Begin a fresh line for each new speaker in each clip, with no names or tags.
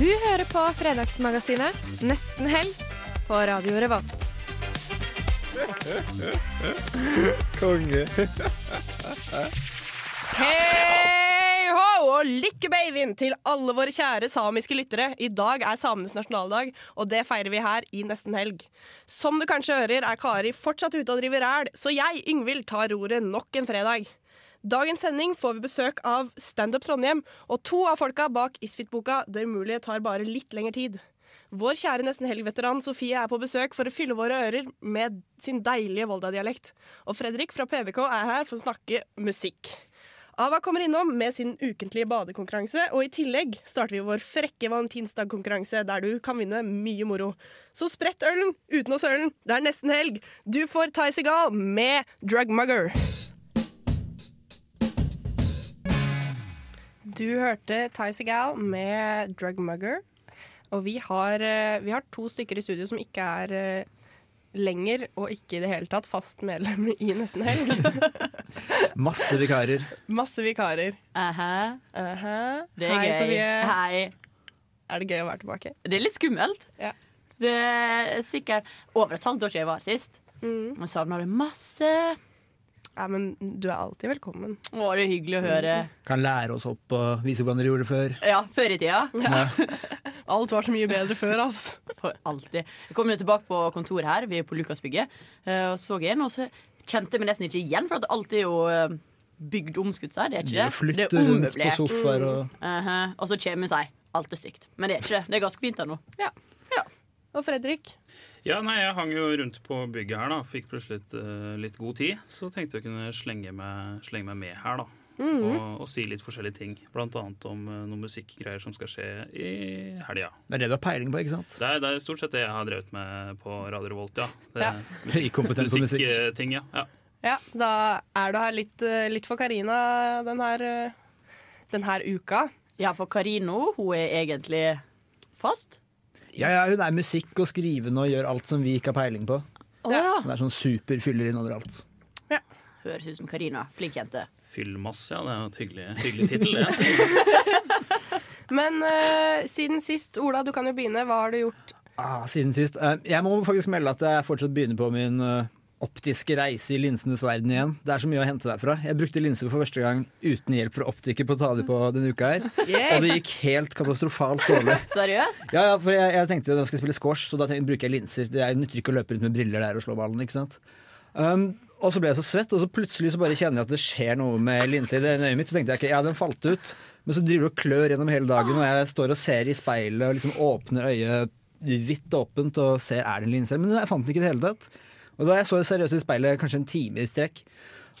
Du hører på Fredagsmagasinet Nesten helg på Radio Revolt.
Konge.
Hei ho, og lykkebabyen til alle våre kjære samiske lyttere. I dag er samenes nasjonaldag, og det feirer vi her i nesten helg. Som du kanskje hører, er Kari fortsatt ute og driver ræl, så jeg, Yngvild, tar roret nok en fredag. Dagens sending får vi besøk av Standup Trondheim og to av folka bak Isfit-boka Det umulige tar bare litt lengre tid. Vår kjære nesten helg-veteran Sofie er på besøk for å fylle våre ører med sin deilige Volda-dialekt. Og Fredrik fra PVK er her for å snakke musikk. Ava kommer innom med sin ukentlige badekonkurranse, og i tillegg starter vi vår frekke valentinsdagkonkurranse der du kan vinne mye moro. Så sprett ølen uten å søle den, det er nesten helg. Du får Ty Segal med Drugmugger. Du hørte Ty Segal med Drugmugger, og vi har, eh, vi har to stykker i studio som ikke er eh, lenger, og ikke i det hele tatt, fast medlem i Nesten Helg.
Masse vikarer.
Masse vikarer.
Aha,
Aha.
det er
Hei,
gøy.
Sofie.
Hei.
Er det gøy å være tilbake?
Det er litt skummelt.
Ja.
Det er sikkert over et halvt år siden jeg var her sist. Jeg savner det masse.
Ja, men du er alltid velkommen.
Å, det er hyggelig å høre.
Kan lære oss opp og vise hvordan dere gjorde det før.
Ja, før i tida.
Alt var så mye bedre før, ass.
For alltid. Jeg kom jo tilbake på kontoret her, vi er på Lukasbygget, eh, og så jeg en, og så kjente jeg meg nesten ikke igjen, for at alt er jo eh, bygd om, skulle jeg si. Det er ikke det.
Flytte
det er
rundt på
ommøblert.
sofaer og
Aha, Og så kommer jeg seg. Alt er stygt. Men det er ikke det. Det er ganske fint her nå.
Og Fredrik?
Ja, nei, jeg hang jo rundt på bygget her, da. Fikk plutselig litt, eh, litt god tid. Så tenkte jeg kunne slenge meg, slenge meg med her, da. Og, og si litt forskjellige ting. Blant annet om eh, noen musikkgreier som skal skje i helga.
Det er det du har peiling på, ikke sant?
Det er, det er stort sett det jeg har drevet med på Radio Revolt, ja. Det
Ja.
er
Høykompetent på musikk.
Musikkting, ja. ja.
Ja, da er du her litt, eh, litt for Karina den her, eh, den her uka.
Ja, for Karino, hun er egentlig fast.
Ja, ja, hun er musikk og skrivende og gjør alt som vi ikke har peiling på.
Å ja.
Hun er sånn superfyller inn overalt.
Høres ut som Karina. Flink jente.
Fyllmass, ja. Det er jo et hyggelig, hyggelig tittel, det. altså.
Men eh, siden sist, Ola, du kan jo begynne. Hva har du gjort?
Ah, siden sist. Eh, Jeg må faktisk melde at jeg fortsatt begynner på min eh, optiske reise i linsenes verden igjen. Det er så mye å hente derfra. Jeg brukte linser for første gang uten hjelp fra optiker på å ta de på denne uka her. Og det gikk helt katastrofalt dårlig.
Seriøst?
Ja, ja, for jeg, jeg tenkte da skal jeg spille squash, så da tenk- bruker jeg linser. Det er- nytter ikke å løpe rundt med briller der og slå ballen, ikke sant. Um, og så ble jeg så svett, og så plutselig så bare kjenner jeg at det skjer noe med linsa i det ene øyet mitt. Så tenkte jeg ok, ja, den falt ut. Men så driver du og klør gjennom hele dagen, og jeg står og ser i speilet og liksom åpner øyet vidt åpent og ser er det en linse her. Men jeg fant den ikke i det hele tatt. Og da jeg så seriøst i speilet kanskje en time i strekk.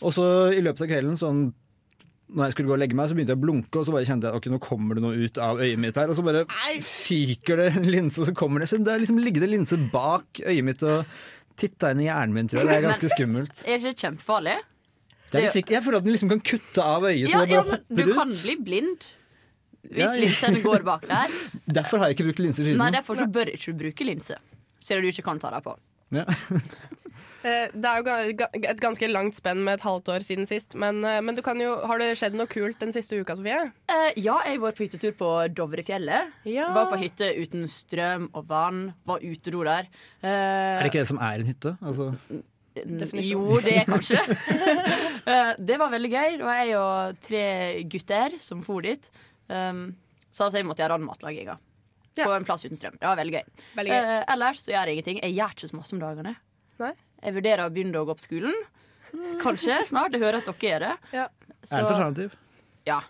Og så i løpet av kvelden sånn når jeg skulle gå og legge meg, så begynte jeg å blunke, og så bare kjente jeg ok, nå kommer det noe ut av øyet mitt her. Og så bare fyker det en linse, og så kommer det Så det har liksom ligget en linse bak øyet mitt og titta inn i hjernen min, tror jeg. Det er ganske skummelt.
Er ikke det kjempefarlig?
Det er litt sikkert, jeg føler at den liksom kan kutte av øyet, så
Ja,
det
ja, men
bare hopper
du
ut.
kan bli blind hvis
Ja, ja.
linsene går bak der.
Derfor har jeg ikke brukt linser siden.
Nei, derfor så bør ikke du bruke linse. Ser du ikke kan ta deg på.
Ja.
Eh, det er jo ga- ga- et ganske langt spenn med et halvt år siden sist, men, eh, men du kan jo, har det skjedd noe kult den siste uka, Sofie?
Eh, ja, jeg var på hyttetur på Dovrefjellet.
Ja.
Var på hytte uten strøm og vann. Var utedo der. Eh,
Er det ikke det som er en hytte? Altså,
Definisjon.
Jo, det kanskje. Eh, det var veldig gøy. Det var jeg og tre gutter som for dit. Um, så altså jeg måtte gjøre all matlaginga.
Ja.
På en plass uten strøm. Det var veldig gøy.
Veldig gøy.
Eh, ellers så gjør jeg ingenting. Jeg gjør ikke så masse om dagene.
Nei?
Jeg vurderer å begynne å gå på skolen. Kanskje snart. Jeg hører at dere gjør det.
Ja.
er det et alternativ?
ja,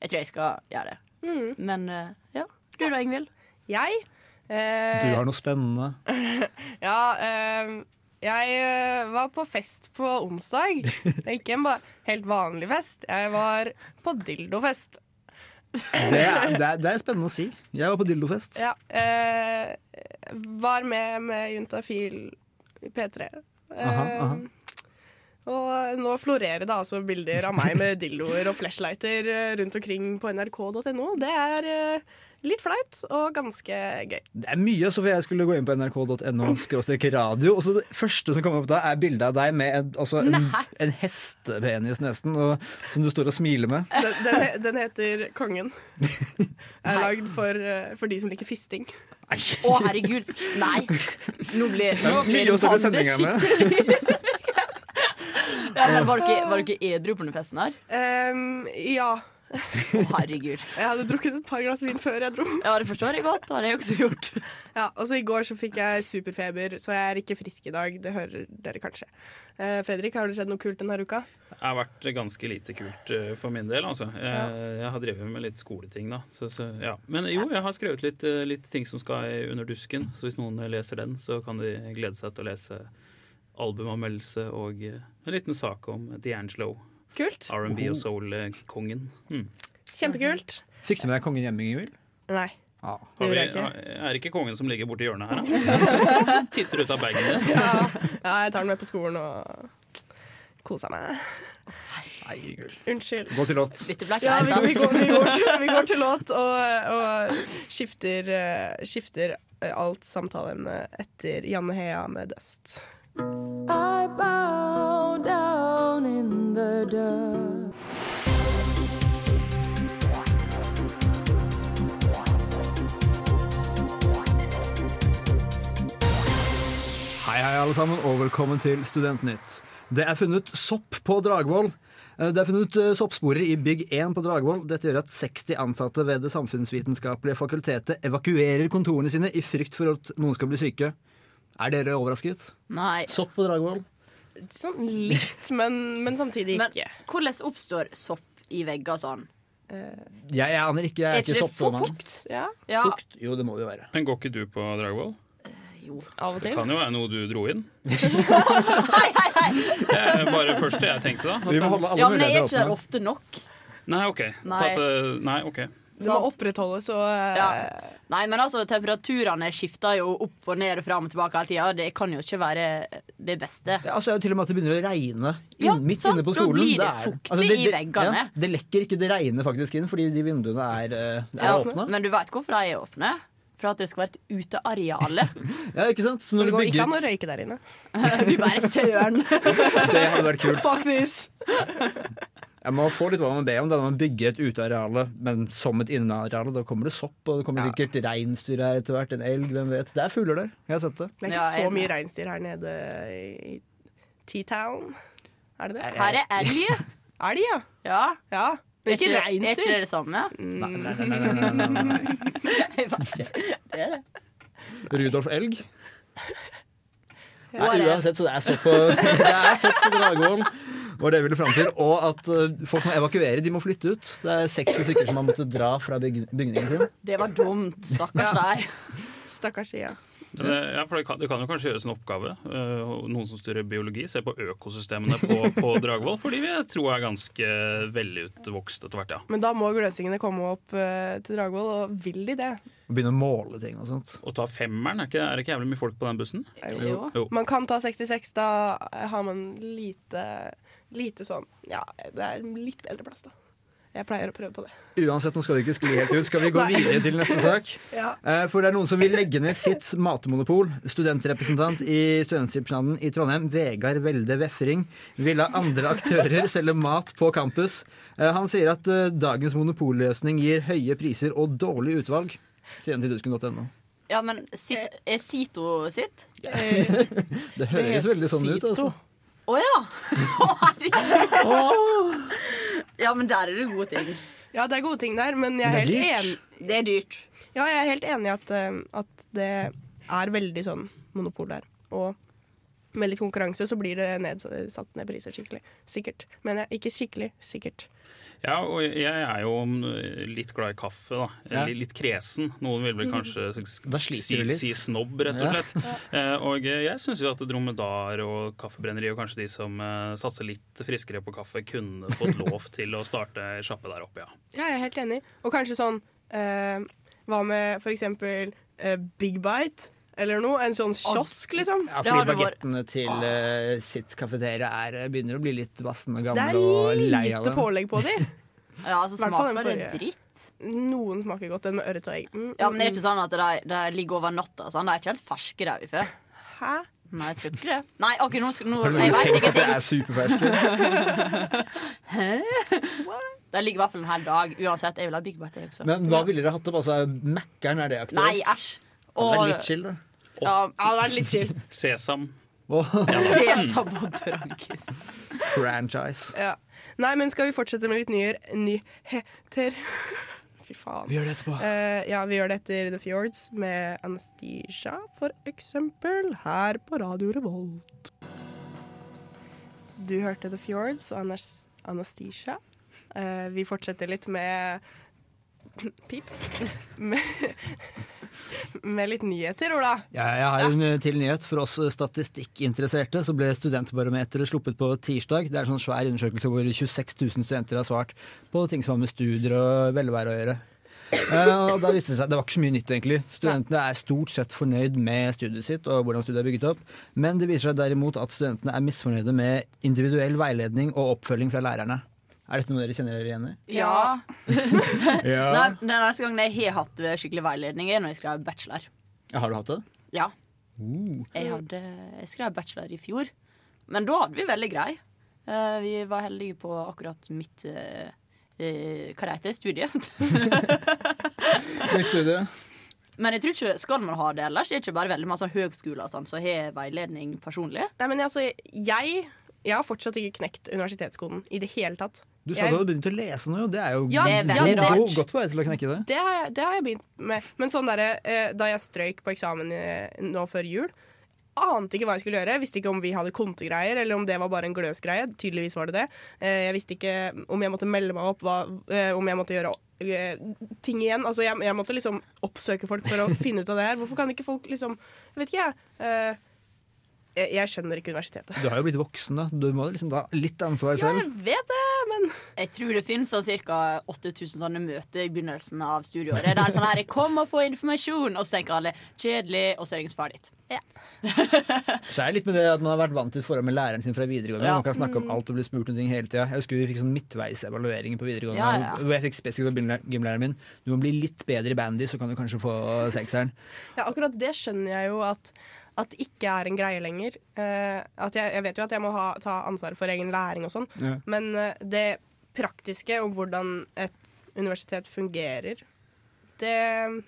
jeg tror jeg skal gjøre det. Men eh, ja. Du da, Ingvild?
Jeg?
Du
Eh,
har noe spennende.
Ja, ehm, jeg eh, var på fest på onsdag. Det er Ikke en ba helt vanlig fest. Jeg var på dildofest.
Det er, det, er, det er spennende å si. Jeg var på dildofest.
Ja. Eh, var med med Juntafil i P3. Eh,
Aha, aha.
Og nå florerer det altså bilder av meg med dildoer og flashlighter eh, rundt omkring på nrk.no. Det er eh, litt flaut og ganske gøy.
Det er mye, Sofie. Jeg skulle gå inn på nrk.no skråstrek radio, og så det første som kommer opp da, er bilde av deg med en, altså en,
Nei.
en hestepenis nesten, og, som du står og smiler med.
Den, den, he- den heter Kongen. Er lagd for, eh, for de som liker fisting.
Å, herregud. Nei. Nå blir, nå blir
Mye å starte
Pander
sendinga med.
skikkelig- Ja, men var dere var dere edru på den festen her?
Em, Ehm, ja.
Å, herregud.
Jeg hadde drukket et par glass vin før jeg dro.
Ja, det forstår jeg godt. Det har jeg også gjort.
Ja, og så I går så fikk jeg superfeber, så jeg er ikke frisk i dag. Det hører dere kanskje. Eh, Fredrik, har det skjedd noe kult denne uka?
Det har vært ganske lite kult eh, for min del, altså. Jeg, jeg har drevet med litt skoleting, da. Så, så, ja. Men jo, jeg har skrevet litt, eh, litt ting som skal i under dusken, så hvis noen eh, leser den, så kan de glede seg til å lese albumanmeldelse og eh, en liten sak om D'Angelo,
Kult?
R&B
Oh.
og soul-kongen. Hmm.
Kjempekult.
Fikk du med deg kongen hjem, Ingvild?
Nei.
Ja.
Har vi,
Det gjorde jeg ikke.
har- er det ikke kongen som ligger borti hjørnet her? da? Titter ut av bagen din.
Ja, ja, jeg tar den med på skolen og koser meg.
Nei, Ingvild.
Unnskyld.
Gå til låt.
Dette ble
Ja, vi, vi,
kleint, ass.
går, vi, går til, vi går til låt og, og skifter, eh, skifter eh, alt samtaleemne etter Janne Hea med Dust.
Hei, hei, alle sammen, og velkommen til Studentnytt. Det er funnet sopp på Dragvoll. Eh, Det er funnet eh, soppsporer i Bygg 1 på Dragvoll. Dette gjør at 60 ansatte ved Det samfunnsvitenskapelige fakultetet evakuerer kontorene sine i frykt for at noen skal bli syke. Er dere overrasket?
Nei.
Sopp på Dragvoll?
Sånn litt, men, men samtidig
Men
ikke.
hvordan oppstår sopp i vegger og sånn?
Jeg, jeg aner ikke. Jeg
Er
er ikke
ikke det
soppmann.
fukt?
Ja,
Ja.
Fukt? Jo, det må det jo være.
Men går ikke du på Dragvoll?
Jo.
av og til.
Kan jo være noe du dro inn. Det er bare det første jeg tenkte, da.
Vi må holde alle
Ja, men jeg er
muligheter
ikke der
åpne.
ofte nok.
Nei, OK.
Nei.
Tatt, eh, nei, ok.
Det må opprettholdes og eh,
Ja. Nei, men altså, temperaturene skifter jo opp og ned og fram og tilbake hele tida. Det kan jo ikke være det beste.
Ja, altså, jo til og med at det begynner å regne inn,
Ja,
midt
sant,
inne på
da
skolen.
blir det
er-
fuktig i veggene.
Ja, det lekker ikke, det regner faktisk inn fordi de vinduene er, eh, er
Ja,
åpne.
men du veit hvorfor de er åpne? For at det skal være et uteareal.
Ja, ikke sant? Så
Men det
når du
går ikke an å
bygger ut
røyke der inne.
du bare søren!
Det hadde vært kult.
Faktisk.
Jeg må få litt hva man ber om da når man bygger et uteareale, men som et inneareale. Da kommer det sopp, og det kommer sikkert reinsdyr her etter hvert. En elg, hvem vet. Det er fugler der. Jeg har sett det.
Det er ikke
Ja, jeg
så
er med.
mye reinsdyr her nede i T-Town. Er det det?
Her er elg.
Er de, ja?
Ja.
Ja. Men
Er
ikke
ikke, er ikke
reinsdyr.
det det samme?
Nei, nei, nei, nei, nei, nei, nei, nei.
Jeg vet ikke. Det er det.
Rudolf Elg? Nei,
Bare-
uansett, så det er sopp på, det er sopp på Dragvoll. Var det jeg ville fram til. Og at eh, folk må evakuere, de må flytte ut. Det er 60 stykker som har måttet dra fra byg bygningen sin.
Det var dumt. Stakkars deg.
Stakkars de, ja.
Men det- Ja, for det, kan, det kan jo kanskje gjøres en oppgave. eh, og noen som studerer biologi, ser på økosystemene på, på Dragvoll, for de vil jeg tro er ganske velutvokst etter hvert, ja.
Men da må gløsingene komme opp eh, til Dragvoll, og vil de det?
Og begynne å måle ting og sånt.
Å ta femmeren, er ikke, er det ikke jævlig mye folk på den bussen?
Jo.
Jo.
Man kan ta 66, da har man lite, lite sånn Ja, det er en litt bedre plass, da. Jeg pleier å prøve på det.
Uansett, nå skal vi ikke skli helt ut. Skal vi gå videre til neste sak?
Ja.
Eh, For det er noen som vil legge ned sitt matmonopol. Studentrepresentant i Studentsamskipnaden i Trondheim, Vegard Welde Vefring, vil la andre aktører selge mat på campus. Eh, Han sier at eh, dagens monopolløsning gir høye priser og dårlig utvalg. Sier han til dusken.no.
Ja, men sitt, er Sito sitt?
Det høres
heter
veldig sånn ut, altså.
Å ja! Å, herregud. Ja, men der er det gode ting.
Ja, det er gode ting der, men jeg er,
Det er
helt enig.
Det er dyrt.
Ja, jeg er helt enig i at, eh, at det er veldig sånn monopol der. Og med litt konkurranse så blir det ned, satt ned priser skikkelig. Sikkert. Men jeg, ikke skikkelig, sikkert.
Ja, og jeg er jo mm, litt glad i kaffe, da.
Ja. Mm.
Litt, litt kresen. Noen vil vel kanskje s-
Da sliter
si,
du litt.
si snobb, rett og slett. Eh, Og eh, jeg syns jo at dromedar og kaffebrenneri, og kanskje de som eh, satser litt friskere på kaffe, kunne fått lov til å starte ei sjappe der oppe, ja.
Ja, jeg er helt enig. Og kanskje sånn eh, Hva med for eksempel eh, Big Bite eller noe? En sånn kiosk, liksom.
Ja,
Det
fordi
har du vår-
bagettene til eh, sitt kafeteria er, eh, begynner å bli litt vassende og
Det
gamle
er
og lei av
lite
dem.
pålegg på de.
Ja, altså
Hvertfall den
smaker det
forrige.
dritt.
Noen smaker godt, den med ørret og egg. Mm,
Ja, men det er ikke sånn at de, de ligger over natta. Sånn. De er ikke helt ferske, de vi før.
Hæ?
Nei, jeg tror ikke det. Nei, ok, nå skal nå,
Har
Jeg vet
du tenkt at det
ingenting.
er superferske?
De ligger i hvert fall en hel dag. Uansett, jeg vil ha Big Bite, jeg også.
Men hva ville dere hatt opp? Altså, Mækkern, er det aktuelt?
Nei, æsj.
Det
Og
er litt chill, da.
ja,
Ja, det hadde vært litt chill.
Sesam.
sesam og drankis.
Franchise.
Ja. Nei, men skal vi fortsette med litt nye nyheter? Fy faen.
Vi gjør det etterpå.
Eh, ja, vi gjør det etter The Fjords med Anesthesia, for eksempel, her på Radio Revolt. Du hørte The Fjords og Anas- Anesthesia. Eh, vi fortsetter litt med Pip. med, med litt nyheter, Ola.
Ja, jeg har en eh, til nyhet. For oss eh, statistikkinteresserte så ble Studentbarometeret sluppet på tirsdag. Det er en sånn svær undersøkelse hvor 26 000 studenter har svart på ting som har med studier og velvære å gjøre. Eh, og da viste Det seg, det var ikke så mye nytt, egentlig. Studentene er stort sett fornøyd med studiet sitt og hvordan studiet er bygget opp, men det viser seg derimot at studentene er misfornøyde med individuell veiledning og oppfølging fra lærerne. Er dette noe dere kjenner dere igjen i?
Ja.
Ja.
Nei, den neste gangen jeg har hatt skikkelig veiledning, er når jeg skrev bachelor.
Har du hatt det?
Ja. Jeg, hadde, jeg skrev bachelor i fjor, men da hadde vi veldig grei. Eh, vi var heldige på akkurat mitt eh, eh, Hva det heter studie. men jeg tror ikke skal man ha det ellers. Det er ikke bare veldig masse høgskoler og sånn, som har veiledning personlig.
Nei, men altså, jeg, jeg har fortsatt ikke knekt universitetskoden i det hele tatt.
Du sa
Jeg-
du hadde begynt å lese nå, jo. Det er jo
Ja,
Det er
god-
veldig
ja,
rart.
god- godt på vei til å knekke det.
Det har, jeg, det har jeg begynt med. Men sånn derre, eh, da jeg strøyk på eksamen eh, nå før jul, ante ikke hva jeg skulle gjøre. Visste ikke om vi hadde kontegreier, eller om det var bare en gløsgreie. Tydeligvis var det det. Eh, jeg visste ikke om jeg måtte melde meg opp, hva, eh, om jeg måtte gjøre eh, ting igjen. Altså, jeg, jeg måtte liksom oppsøke folk for å finne ut av det her. Hvorfor kan ikke folk liksom Jeg vet ikke, jeg. Eh, jeg, jeg skjønner ikke universitetet.
Du har jo blitt voksen, da. Du må liksom ta litt ansvar
Ja,
selv.
jeg vet det, men
Jeg tror det finnes sånn, ca. 8000 sånne møter i begynnelsen av studieåret. Der sånn her, 'Kom og få informasjon', og så tenker alle 'kjedelig', og så er det ingen som har ditt.
Så er det litt med det at man har vært vant til et forhold med læreren sin fra videregående.
Ja. Mm.
Man kan snakke om alt og bli spurt om ting hele tida. Jeg husker vi fikk sånn midtveisevalueringer på videregående.
Ja, ja.
Hvor jeg fikk spesifikt av gymlæreren min Du må bli litt bedre i bandy, så kan du kanskje få sekseren.
Ja, akkurat det skjønner jeg jo at at det ikke er en greie lenger. Eh, at jeg, jeg vet jo at jeg må ha, ta ansvar for egen læring og sånn,
Ja.
men eh, det praktiske om hvordan et universitet fungerer, det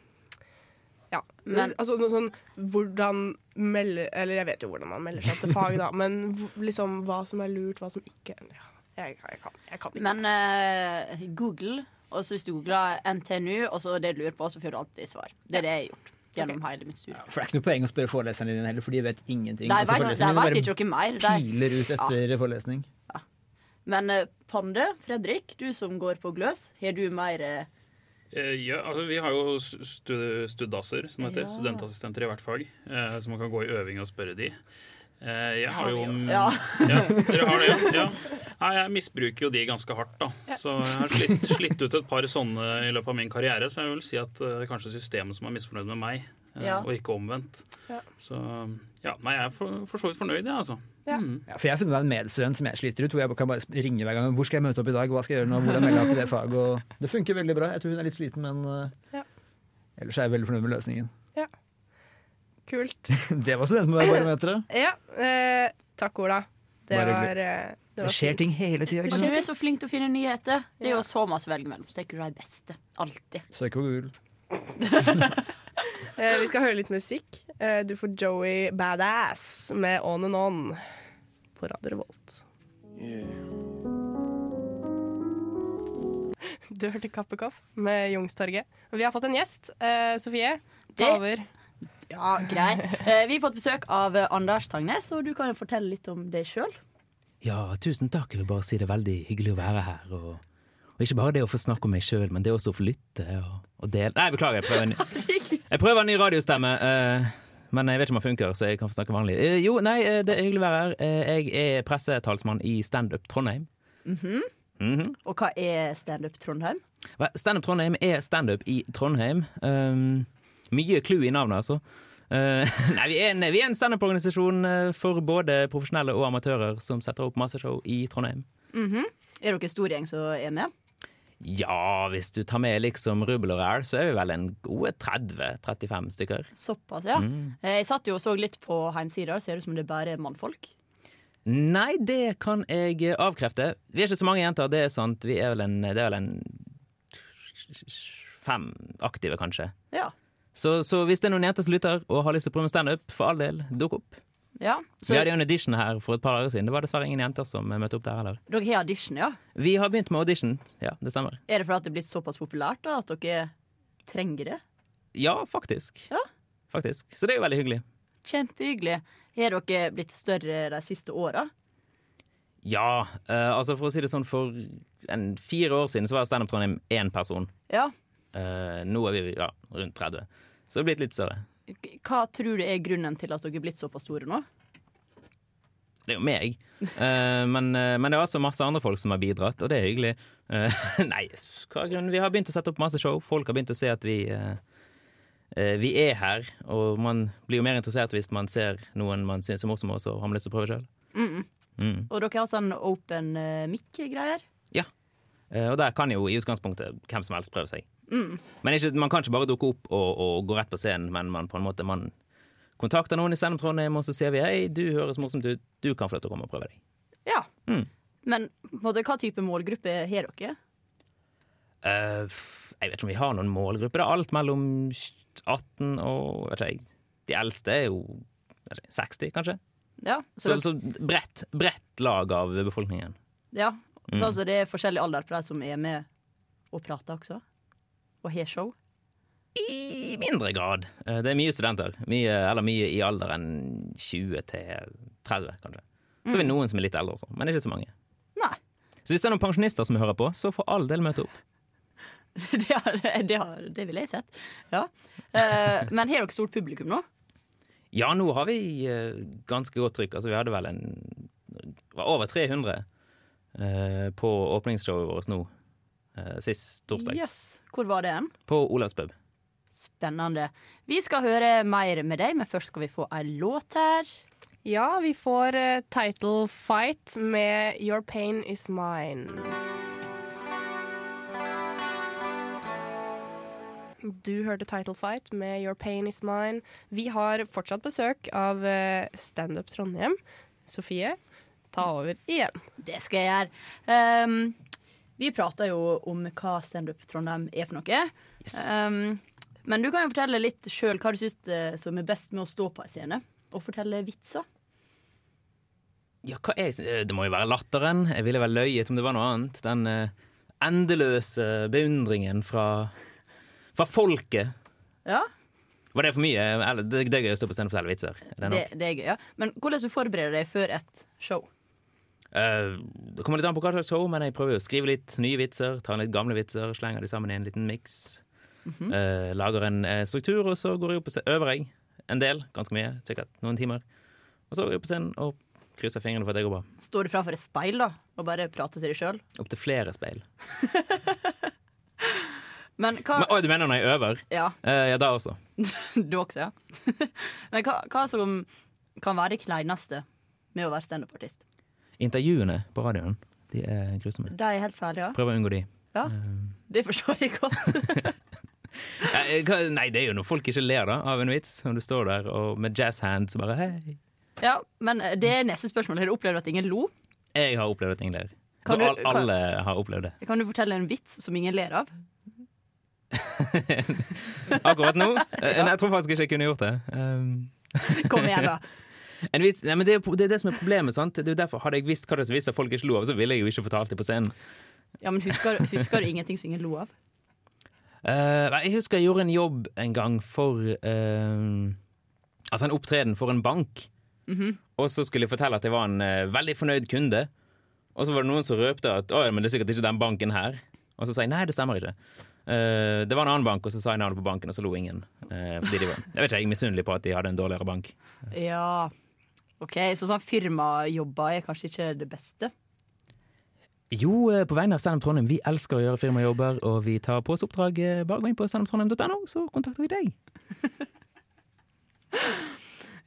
Ja.
Men-
altså noe sånn hvordan melde Eller jeg vet jo hvordan man melder seg til fag, da, men hvor- liksom hva som er lurt, hva som ikke ja, jeg, jeg, kan, jeg kan ikke.
Men eh, Google, og så hvis du googler NTNU, og så det du lurer på, så får du alltid svar. Det er det jeg har gjort gjennom hele mitt studie.
For det er ikke noe poeng å spørre foreleseren din heller, for de vet ingenting.
De
Altså,
vet- de
foreleseren
vet
din
ikke noe mer.
bare
De.
piler ut etter forelesning.
Men eh, Pande, Fredrik, du som går på Gløs, har du mer eh,
Eh, Ja, altså Vi har jo stu- studasser, som heter
Ja.
studentassistenter i hvert fag. eh, Så man kan gå i øving og spørre de. Eh, Jeg har jo
Mm.
Ja.
Ja, dere har det, ja. ja. Nei, jeg misbruker jo de ganske hardt, da. Så jeg har slitt, slitt ut et par sånne i løpet av min karriere, så jeg vil si at eh, det er kanskje systemet som er misfornøyd med meg, eh,
Ja.
og ikke omvendt.
Ja.
Så ja, nei, jeg er for, for så vidt fornøyd, jeg, altså.
Ja.
Mm.
Ja, for jeg har funnet meg en medstudent som jeg sliter ut, hvor jeg kan bare ringe hver gang. Hvor skal jeg møte opp i dag? Hva skal jeg gjøre nå? Hvordan melder jeg meg til det faget? Og det funker veldig bra. Jeg tror hun er litt sliten, men eh,
Ja.
ellers er jeg veldig fornøyd med løsningen.
Kult.
Det var studentbarometeret.
Ja. Eh, takk, Ola. Det
Bare
var,
hyggelig.
eh, det
Det
var
skjer ting hele tida.
Men du er så flink til å finne nyheter. Det er
Ja.
jo så masse å velge mellom. Så er ikke du de beste. Alltid.
Søk på Google.
Eh, vi skal høre litt musikk. Eh, du får Joey Badass med On and On på Radio Revolt. Du hørte Kappekoff med Youngstorget. Og Vi har fått en gjest. Eh, Sofie,
Det-
ta over.
Ja, greit. Eh, vi har fått besøk av eh, Anders Tangnes, og du kan jo fortelle litt om deg sjøl.
Ja, tusen takk. Jeg vil bare si det er veldig hyggelig å være her. Og, og
Og ikke bare det å få snakke om meg sjøl, men det også å få lytte og, og dele Nei, beklager, jeg prøver en ny, jeg prøver en ny radiostemme. eh, men jeg vet ikke om den funker, så jeg kan få snakke vanlig. Eh, jo, nei, eh, det er hyggelig å være her. Eh, jeg er pressetalsmann i Standup Trondheim. Mhm.
Og hva er standup Trondheim?
Hva- Standup Trondheim er standup i Trondheim. Um, mye clou i navnet, altså. Uh, nei, vi er en, vi er en standup-organisasjon eh, for både profesjonelle og amatører som setter opp masse show i Trondheim.
Er dere en stor gjeng som er med?
Ja, hvis du tar med liksom rubbel og ræl, så er vi vel en gode 30-35 stykker.
Såpass, ja.
Mm.
Eh, Jeg satt jo og så litt på heimsida. Ser ut som det bare er mannfolk.
Nei, det kan jeg eh, avkrefte. Vi er ikke så mange jenter, det er sant. Vi er vel en, det er vel en fem aktive, kanskje.
Ja.
Så, så hvis det er noen jenter som lytter og har lyst til å prøve med standup, for all del, dukk opp.
ja. Så
Vi hadde jo en audition her for et par dager siden. Det var dessverre ingen jenter som eh, møtte opp der heller.
dere har audition, ja?
Vi har begynt med audition, ja, det stemmer.
Er det fordi det er blitt såpass populært da, at dere trenger det?
Ja, faktisk.
Ja.
Faktisk. Så det er jo veldig hyggelig.
Kjempehyggelig. Har dere blitt større de siste åra?
Ja, eh, altså for å si det sånn, for en fire år siden så var Standup Trondheim én person.
Ja.
Eh, nå er vi ja, rundt 30. Så det er blitt litt større.
K- Hva tror du er grunnen til at dere er blitt såpass store nå?
Det er jo meg. Eh, men, eh, men det er altså masse andre folk som har bidratt, og det er hyggelig. Eh, nei, hva er grunnen? Vi har begynt å sette opp masse show. Folk har begynt å se at vi eh, eh, Vi er her, og man blir jo mer interessert hvis man ser noen man syns er morsom, og så har man lyst til å prøve sjøl. Mm.
Og dere har sånn open eh, mic-greier.
Eh, og der kan jo i utgangspunktet hvem som helst prøve seg. Men ikke, man kan ikke bare dukke opp og, og gå rett på scenen, men man på en måte man kontakter noen i Sendem Trondheim, og så sier vi hei, du høres morsomt ut, du kan få lov til å komme og prøve deg.
Ja.
Mm.
Men på en måte, hva type målgruppe har dere?
Eh, jeg vet ikke om vi har noen målgruppe. Det er alt mellom 18 og vet ikke jeg, De eldste er jo vet ikke, 60, kanskje.
Ja,
Så,
så,
så bredt, bredt lag av befolkningen.
ja.
Mm.
så altså, det er forskjellig alder på de som er med og prater også? Og har show?
I mindre grad. Eh, det er mye studenter. Mye, eller mye i alderen 20 til 30, kanskje. Så er det noen som er litt eldre også, men ikke så mange.
Nei.
Så hvis det er noen pensjonister som hører på, så for all del møte opp.
Det, har, det, har, det ville jeg sett. Ja. Eh, men har dere stort publikum nå?
Ja, nå har vi eh, ganske godt trykk. Altså, vi hadde vel en det var over 300 eh, på åpningsshowet vårt nå. eh, sist torsdag.
Yes. Hvor var det hen?
På Olavs pub.
Spennende. Vi skal høre mer med deg, men først skal vi få ei låt her.
Ja, vi får eh, Title Fight med Your Pain Is Mine. Du hørte Title Fight med Your Pain Is Mine. Vi har fortsatt besøk av eh, Standup Trondheim. Sofie, ta over igjen.
Det skal jeg gjøre. Ehm, vi prater jo om hva standup Trondheim er for noe. Ehm, men du kan jo fortelle litt sjøl hva du syns eh, som er best med å stå på ei scene. Og fortelle vitser.
Ja, hva er, eh, det må jo være latteren. Jeg ville vel løyet om det var noe annet. Den eh, endeløse beundringen fra, fra folket.
Ja,
Var det for mye? Eller, det, det er gøy å stå på scenen og fortelle vitser. Er det nok?
det, det er gøy. Ja. Men hvordan du forbereder deg før et show?
Eh, det kommer litt an på hva slags show, men jeg prøver jo å skrive litt nye vitser. Ta litt gamle vitser, slenger de sammen i en liten miks. Eh, lager en eh, struktur, og så går jeg opp på scenen. Øver jeg en del, ganske mye, sikkert noen timer. Og så går jeg opp på scenen og krysser fingrene for at det går bra.
Står du framfor et speil da, og bare prater til deg sjøl?
Opp til flere speil.
Men hva
Men, oi, du mener når jeg øver?
Ja,
Eh, ja, da også.
du også, ja. Men hva, hva som kan være det kleineste med å være standup-artist?
Intervjuene på radioen, de er grusomme.
De er helt ferdige, ja.
Prøver å unngå de.
ja. Det forstår jeg godt.
Eh, hva- nei, det er jo når folk ikke ler da, av en vits, når du står der og med jazz hands bare hei.
Ja, Men det er neste spørsmål. Har du opplevd at ingen lo?
Jeg har opplevd at ingen ler.
Kan
Så
du-
al-
kan-
alle har opplevd det.
Kan du fortelle en vits som ingen ler av?
Akkurat nå? Eh, Nei, jeg tror faktisk ikke jeg kunne gjort det. Um,
Kom igjen, da.
en vits, nei, men det, er, jo pro- det er det som er problemet. sant? Det er jo derfor Hadde jeg visst hva det var som folk ikke lo av, så ville jeg jo ikke fortalt det på scenen.
Ja, men Husker, husker du ingenting som ingen lo av?
Eh, nei, jeg husker jeg gjorde en jobb en gang for eh, Altså en opptreden for en bank. Og så skulle jeg fortelle at jeg var en eh, veldig fornøyd kunde. Og så var det noen som røpte at å, ja, men det er sikkert ikke den banken her. Og Og så sa jeg nei, det stemmer ikke. Eh, det var en annen bank, og så sa jeg navnet på banken, og så lo ingen. Eh, fordi de var, jeg vet ikke, jeg er misunnelig på at de hadde en dårligere bank.
Ja. OK, så sånn firmajobber er kanskje ikke det beste.
Jo, eh, på vegne av Standup Trondheim, vi elsker å gjøre firmajobber, og vi tar på oss oppdrag. Eh, Bare gå inn på standuptrondheim.no, så kontakter vi deg.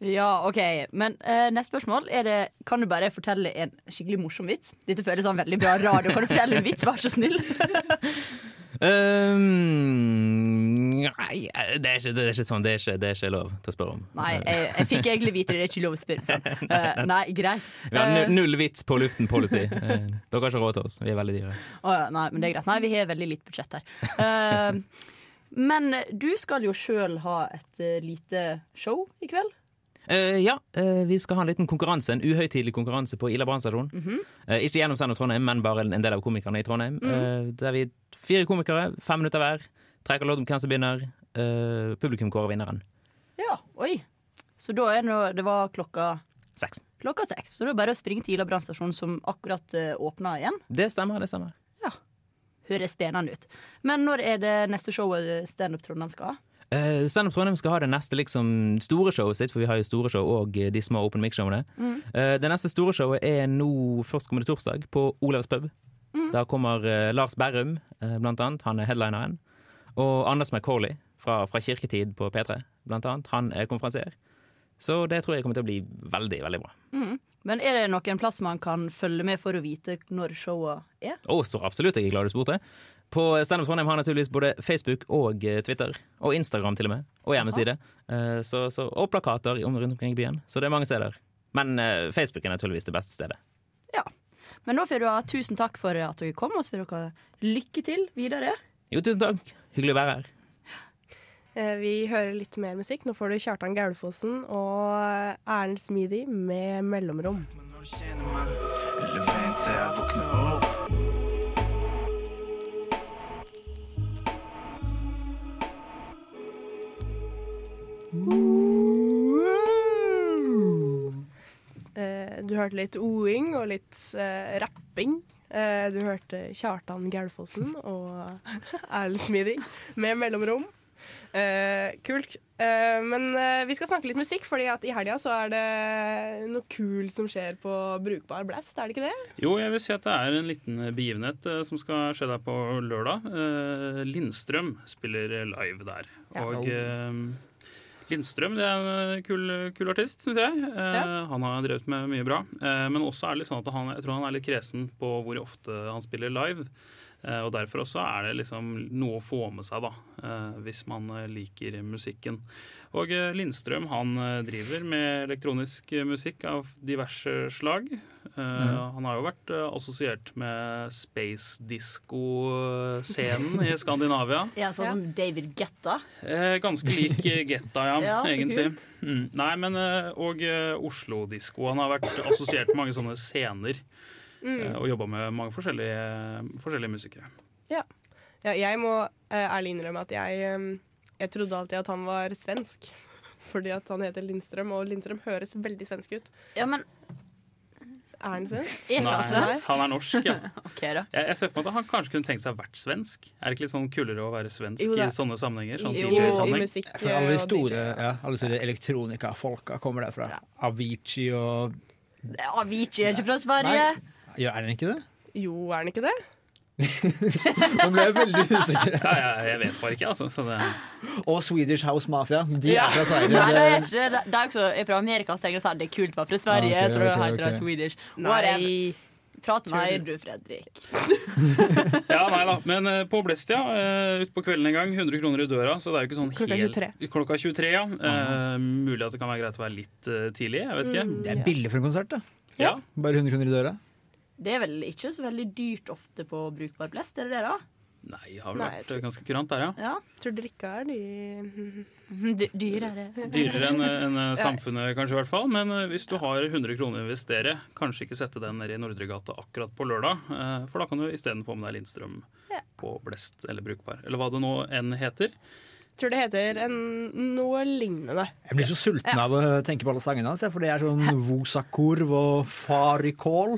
Ja, ok. Men eh, neste spørsmål er det Kan du bare fortelle en skikkelig morsom vits? Dette føles som veldig bra radio. Kan du fortelle en vits, vær så snill?
Ehm, nei, eh, det er, ikke, det er ikke sånn. Det er ikke, det er ikke lov til å spørre om.
Nei, jeg, jeg fikk egentlig vite det. Det er ikke lov å spørre. Sånn. Eh, nei, greit.
Vi har
Eh,
nu- null vits på luften policy. Eh, Dere har ikke råd til oss. Vi er veldig dyre.
Å ja, nei, men det er greit. Nei, vi har veldig lite budsjett her. Eh, men du skal jo sjøl ha et eh, lite show i kveld.
Eh, ja, eh, vi skal ha en liten konkurranse, en uhøytidelig konkurranse på Ila brannstasjon. Eh, ikke gjennom Sand og Trondheim, men bare en del av komikerne i Trondheim. Eh, der vi fire komikere, fem minutter hver, trekker lodd om hvem som begynner. Eh, publikum kårer vinneren.
Ja, oi. Så da er det nå Det var klokka
Seks.
Klokka seks. Så det er bare å springe til Ila brannstasjon, som akkurat uh, åpna igjen.
Det stemmer, det stemmer.
Høres spennende ut. Men når er det neste showet Standup Trondheim skal ha?
Uh, Standup Trondheim skal ha det neste liksom, store showet sitt, for vi har jo store show og eh, de små open mic-showene. Eh, det neste store showet er nå førstkommende torsdag på Olavs pub. Da kommer eh, Lars Berrum, eh, blant annet. Han er headlineren. Og Anders McCauley fra, fra Kirketid på P3, blant annet. Han er konferansier. Så det tror jeg kommer til å bli veldig, veldig bra.
Men er det noen plass man kan følge med for å vite når showet er?
Å, så absolutt. Jeg er glad du spurte. På Standup Trondheim har naturligvis både Facebook og eh, Twitter. Og Instagram, til og med. Og hjemmeside. Eh, Så, så, og plakater om- rundt omkring i byen. Så det er mange steder. Men eh, Facebook er naturligvis det beste stedet.
Ja. Men da får du ha tusen takk for at dere kom, og så får dere lykke til videre.
Jo, tusen takk. Hyggelig å være her.
Eh, Vi hører litt mer musikk. Nå får du Kjartan Gaulfossen og Erlend Smidig med 'Mellomrom'. Eh, Du hørte litt oing og litt eh, rapping. Eh, Du hørte Kjartan Gaulfossen og Erlend Smidig med 'Mellomrom'. Eh, kult. Eh, men eh, vi skal snakke litt musikk, fordi at i helga så er det noe kult som skjer på Brukbar Blast, er det ikke det?
Jo, jeg vil si at det er en liten begivenhet eh, som skal skje der på lørdag. Eh, Lindstrøm spiller live der. Og eh, Lindstrøm det er en kul, kul artist, syns jeg. Eh, Han har drevet med mye bra. Eh, men også er det litt sånn at han, jeg tror han er litt kresen på hvor ofte han spiller live. Eh, og derfor også er det liksom noe å få med seg, da. eh, hvis man eh, liker musikken. Og eh, Lindstrøm han eh, driver med elektronisk eh, musikk av diverse slag. Eh, Han har jo vært eh, assosiert med space disco-scenen i Skandinavia.
Ja, sånn som David Getta.
Eh, Ganske lik eh, Getta, ja,
Ja, så
egentlig. Mm. Nei, men eh, Og eh, Oslo-disko. Han har vært assosiert med mange sånne scener.
Mm.
eh, Og jobba med mange forskjellige, forskjellige musikere.
Ja, jeg må eh, ærlig innrømme at jeg, eh, jeg trodde alltid at han var svensk. Fordi at han heter Lindstrøm, og Lindstrøm høres veldig svensk ut.
Ja, men
Er han svensk?
er ikke han
Nei,
svensk?
han er norsk, ja.
Ok, da.
Jeg, jeg ser for meg at han kanskje kunne tenkt seg å vært svensk. Er det ikke litt sånn kulere å være svensk
Jo,
i
det er-
sånne sammenhenger? Sånn
Jo, i
DJ-sammenheng?
musikk.
For alle
eh,
de
og
store,
DJ.
ja, alle de store elektronikafolka kommer derfra. Avicii og
Avicii er ikke fra Sverige.
Ja, er den ikke det?
Jo, er han ikke det?
Nå ble jeg veldig usikker.
Ja, ja, jeg vet bare ikke, altså. Så det,
Og Swedish House Mafia. De er fra Sverige.
Nei, det er ikke det. Det er jo også fra Amerika, så jeg sa det er kult å være fra Sverige.
Ah, ok,
så da
ok,
heter det
ok.
Swedish. Whatever.
Nei.
Prat mer, du, Fredrik.
Ja, nei da. Men eh, på Blestia, uh, utpå kvelden en gang, 100 kroner i døra, så det er jo ikke sånn
Klokka
helt
23.
Klokka 23, ja. Eh, mulig at det kan være greit å være litt eh, tidlig, jeg vet ikke.
Mm,
Det er billig for en konsert, da.
Ja.
Bare 100 kroner i døra.
Det er vel ikke så veldig dyrt ofte på brukbar blest, er det det, da?
Nei, har vel
Nei, jeg
vært eh, ganske kurant der, ja.
Ja.
Tror drikka er de
Dy- Dyrere.
Dyrere enn enn, eh, samfunnet, kanskje, i hvert fall. Men eh, hvis du har 100 kroner å investere, kanskje ikke sette den nede i Nordregata akkurat på lørdag. eh, for da kan du isteden få med deg Lindstrøm på Blest eller Brukbar, eller hva det nå enn heter.
Tror det heter en, noe lignende.
Jeg blir så sulten av å tenke på alle sangene hans, jeg, for det er sånn Vosakorv og Farikål.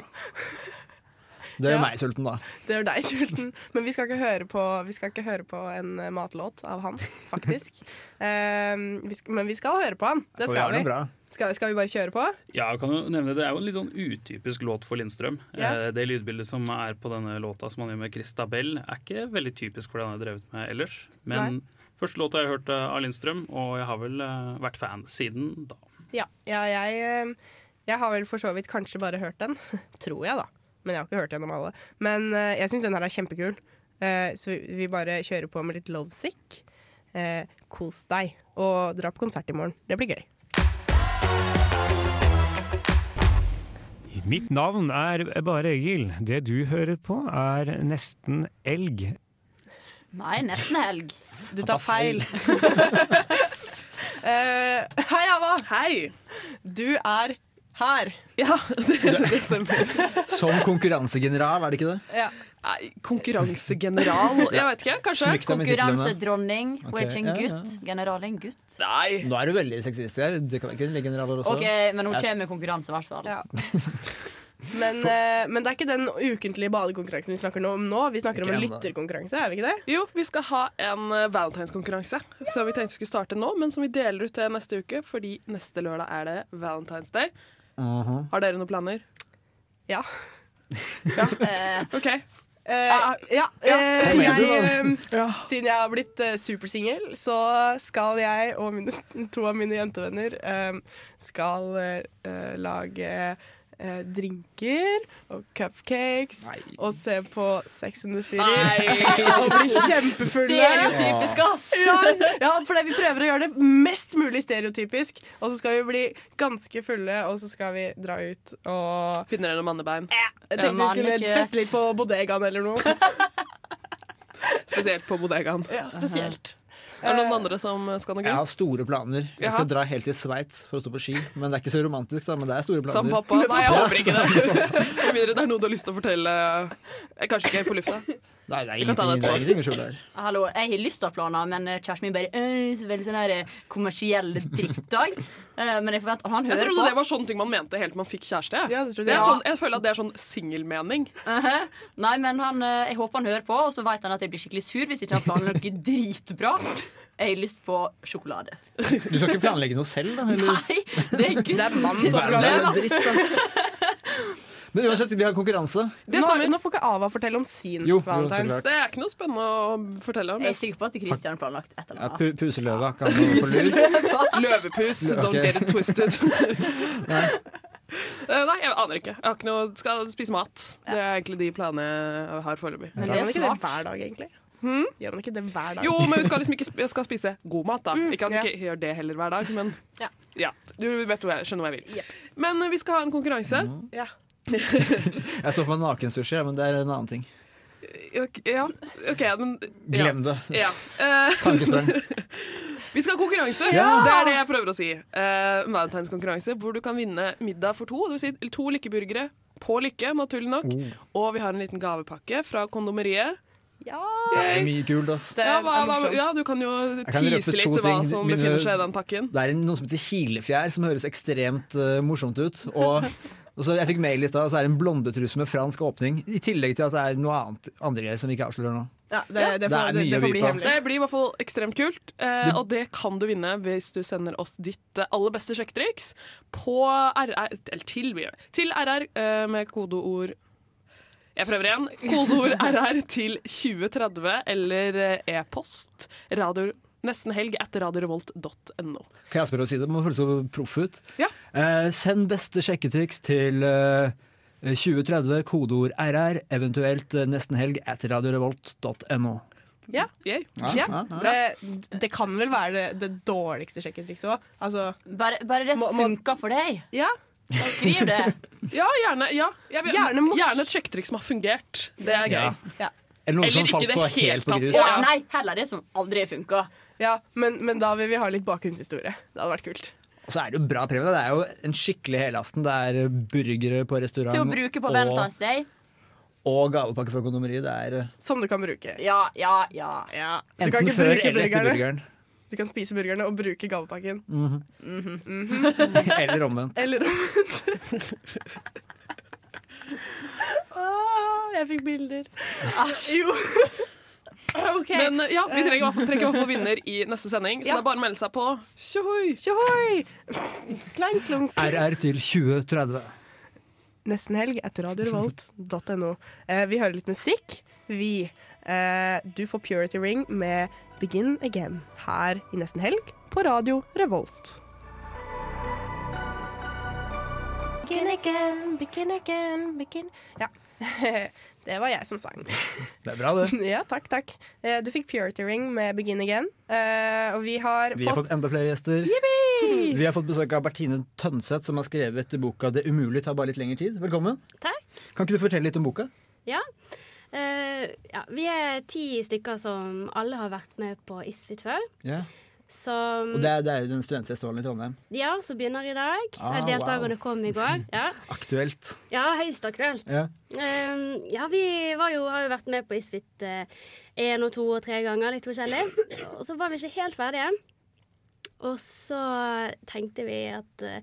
Det gjør
Ja.
meg sulten, da.
Det gjør deg sulten. Men vi skal ikke høre på, vi skal ikke høre på en eh, matlåt av han, faktisk. Ehm, vi sk- men vi skal høre på han. Det
For
skal
det er noe
vi.
bra.
Skal, skal vi bare kjøre på?
Ja, jeg kan jo nevne Det Det er jo en litt sånn utypisk låt for Lindstrøm.
Ja.
Eh, Det lydbildet som er på denne låta som han gjør med Christabel, er ikke veldig typisk for det han har drevet med ellers. Men første låta jeg har hørt eh, av Lindstrøm, og jeg har vel eh, vært fan siden da.
Ja. ja jeg, ehm, jeg har vel for så vidt kanskje bare hørt den. Tror jeg, da. Men jeg har ikke hørt gjennom alle. Men eh, jeg syns den her er kjempekul. Eh, så vi, vi bare kjører på med litt lovesick. Eh, kos deg, og dra på konsert i morgen. Det blir gøy.
Mitt navn er Bare Egil. Det du hører på, er nesten elg.
Nei, nesten helg.
Du tar feil. Eh, hei, Ava. Hei. Du er her. Ja, det, stemmer.
Som konkurransegeneral, er det ikke det?
Nei, Konkurransegeneral, jeg vet ikke, kanskje?
Smykk deg med titlene.
Konkurransedronning,
Ok,
wedging
ja, ja.
gutt, generalen gutt.
Nei.
Nå er du veldig sexist her. Det kan være kvinnelige generaler også.
Ok, Men hun kommer med konkurranse, i hvert fall.
Ja. Men, eh, men det er ikke den ukentlige badekonkurransen vi snakker nå om nå. Vi snakker om en
Ikke ennå.
lytterkonkurranse, er vi ikke det?
Jo, vi skal ha en eh, valentinskonkurranse som vi tenkte skulle starte nå, men som vi deler ut til neste uke, fordi neste lørdag er det Valentine's Day.
Mhm.
Har dere noen planer?
Ja.
OK. Ah,
Eh, ja, eh,
Kom igjen,
jeg,
du,
eh, siden jeg har blitt eh, supersingel, så skal jeg og mine, to av mine jentevenner eh, skal eh, eh, lage eh, drinker og cupcakes og se på Sex and the City og bli kjempefulle.
Stereotypisk, ass!
Ja, ja for det, vi prøver å gjøre det mest mulig stereotypisk, og så skal vi bli ganske fulle, og så skal vi dra ut og
Finner dere noen mannebein?
Jeg tenkte vi skulle feste litt på bodegaen eller noe.
Spesielt på bodegaen.
Ja, spesielt.
Er det noen andre som skal noe
Jeg
gøy?
har store planer. Jeg
Jaha.
skal dra helt til Sveits for å stå på ski. Men det er ikke så romantisk, da. Men det er store planer.
Som pappa? Nei, jeg håper ikke det. Med mindre det er noe du har lyst til å fortelle eh, Kanskje ikke på lufta.
Nei, det er
Vi kan ta
ingenting,
det
det er
etterpå.
ingenting å skjule her.
Hallo, Jeg har lyst til å ha planer, men eh, kjæresten min bare «Øh, så veldig sånn her eh, kommersiell drittdag. Eh, Men jeg forventer han
Jeg
hører
trodde det
på.
var sånne ting man mente helt til man fikk kjæreste.
Ja, det trodde
er
jeg.
sånn, jeg føler at det er sånn singelmening.
Uh-huh. Nei, men han, eh, Jeg håper han hører på, og så vet han at jeg blir skikkelig sur hvis ikke han planlegger noe dritbra. Jeg har lyst på sjokolade.
Du skal ikke planlegge noe selv, da? Eller?
Nei, det er
Det er
gutten
mann
som
som
Verden er
planlegger.
en dritt, ass. Men uansett, vi har konkurranse.
Det
nå,
stemmer.
nå får ikke Ava fortelle om sin
Jo, jo, så
valentines.
klart.
Det er ikke noe spennende å fortelle om.
Jeg er sikker på at Kristian har planlagt et eller
Ja,
annet.
pu puseløva kan man få lyd.
Løvepus, don't
Ok.
get it twisted. Eh, Nei, jeg aner ikke. Jeg har ikke noe, skal spise mat. Det er egentlig de planene jeg har foreløpig.
Men
Gjør
det
man
er
ikke det
smart.
hver dag, egentlig? Gjør man ikke det hver dag?
Jo, men vi skal liksom ikke sp- jeg skal spise god mat, da. Ikke at vi
ja.
ikke gjør det heller hver dag, men
Ja.
ja. Du vet hvor jeg skjønner hva jeg vil. Men eh, vi skal ha en konkurranse.
Ja.
Jeg står for meg nakensushi, ja, men det er en annen ting.
Ok, Ja, OK, men ja.
Glem det.
Ja. Eh,
Tankesprang.
vi skal ha konkurranse!
Ja!
Det er det jeg prøver å si. Uh, Valentinskonkurranse hvor du kan vinne middag for to. Det vil si to lykkeburgere på Lykke, naturlig nok.
Oh.
Og vi har en liten gavepakke fra kondomeriet.
Det er mye kult, ass.
Ja, hva, hva, ja, du kan jo
kan
tease
røpe
litt
to
hva
ting.
som
Mine-
befinner seg i den pakken.
Det er en- noe som heter kilefjær, som høres ekstremt eh, morsomt ut. Og, og så Jeg fikk mail i stad, og så er det en blondetruse med fransk åpning. I tillegg til at det er noe annet andre greier som vi ikke avslører nå.
Ja, det, det,
Det er
får, det,
mye
det
å by
får bli
på.
hemmelig.
Det blir i hvert fall ekstremt kult, eh, og det kan du vinne hvis du sender oss ditt eh, aller beste sjekketriks på RR, eller til, blir det, til RR eh, med kodeord Jeg prøver igjen. Kodeord RR til 2030 eller eh, e-post radio nestenhelg etter radiorevolt.no.
Kan jeg spørre å si det? Man føles så proff ut.
Ja.
Eh, send beste sjekketriks til eh, 2030, kodeord RR, eventuelt eh, nesten helg at radiorevolt.no.
Ja.
Yay.
Ja. Det, det kan vel være det, det dårligste sjekketrikset òg. Altså,
Bare, bare det
Må-
som
må-
funker for deg.
ja.
Skriv det.
Ja, gjerne. Ja. Jeg vil,
Gjerne
gjerne,
mors-
et sjekketriks som har fungert. Det er gøy.
Ja.
Ja.
Eller noen
Eller
som
ikke
falt
det
på
helt
helt på
tatt.
grus.
Ja,
Ja.
nei, heller det som aldri funker.
ja. Men, men da vil vi ha litt bakgrunnshistorie. Det hadde vært kult.
Og så er det jo bra premie. Det er jo en skikkelig helaften. Det er eh, burgere på restaurant
Til å bruke på
og,
Valentine's Day.
og gavepakke fra kondomeriet. Det er eh,
Som du kan bruke.
Ja, ja, ja.
Ja. Du kan
enten
ikke
før
bruke
eller etter Mm.
burgerne.
burgeren.
Du kan spise burgerne og bruke gavepakken.
Eller omvendt.
Eller omvendt. Ah,
Jeg fikk bilder. Jo. Ok.
Men eh, ja, vi trenger i hvert fall- trenger i hvert fall vinner i neste sending, så
Ja.
det er bare å melde seg på. Tjohoi! Tjohoi!
Klein klunk.
RR til 2030.
Nesten helg etter radiorevolt.no. Eh, vi hører litt musikk, vi. Eh, du får Purity Ring med Begin Again her i Nesten helg på Radio Revolt. Begin again, begin again, begin Ja. Det var jeg som sang.
Det er bra, det.
Ja, takk, takk. Eh, Du fikk Purity Ring med Begin Again. Eh, Og vi har
Vi har fått enda flere gjester.
Yippee!
Vi har fått besøk av Bertine Tønseth, som har skrevet boka 'Det umulige tar bare litt lengre tid'. Velkommen.
Takk.
Kan ikke du fortelle litt om boka?
Ja. Eh, ja. Vi er ti stykker som alle har vært med på ISFIT før.
Ja.
Som,
Og det er, det er jo den studentfestivalen i Trondheim.
ja, som begynner i dag.
Ah,
Deltakerne
wow.
kom i går. Ja,
Aktuelt.
ja høyst aktuelt.
Ja.
Eh, ja, vi var jo, har jo vært med på ISFIT én og to og tre ganger, litt forskjellig. Og så var vi ikke helt ferdige. Og så tenkte vi at eh,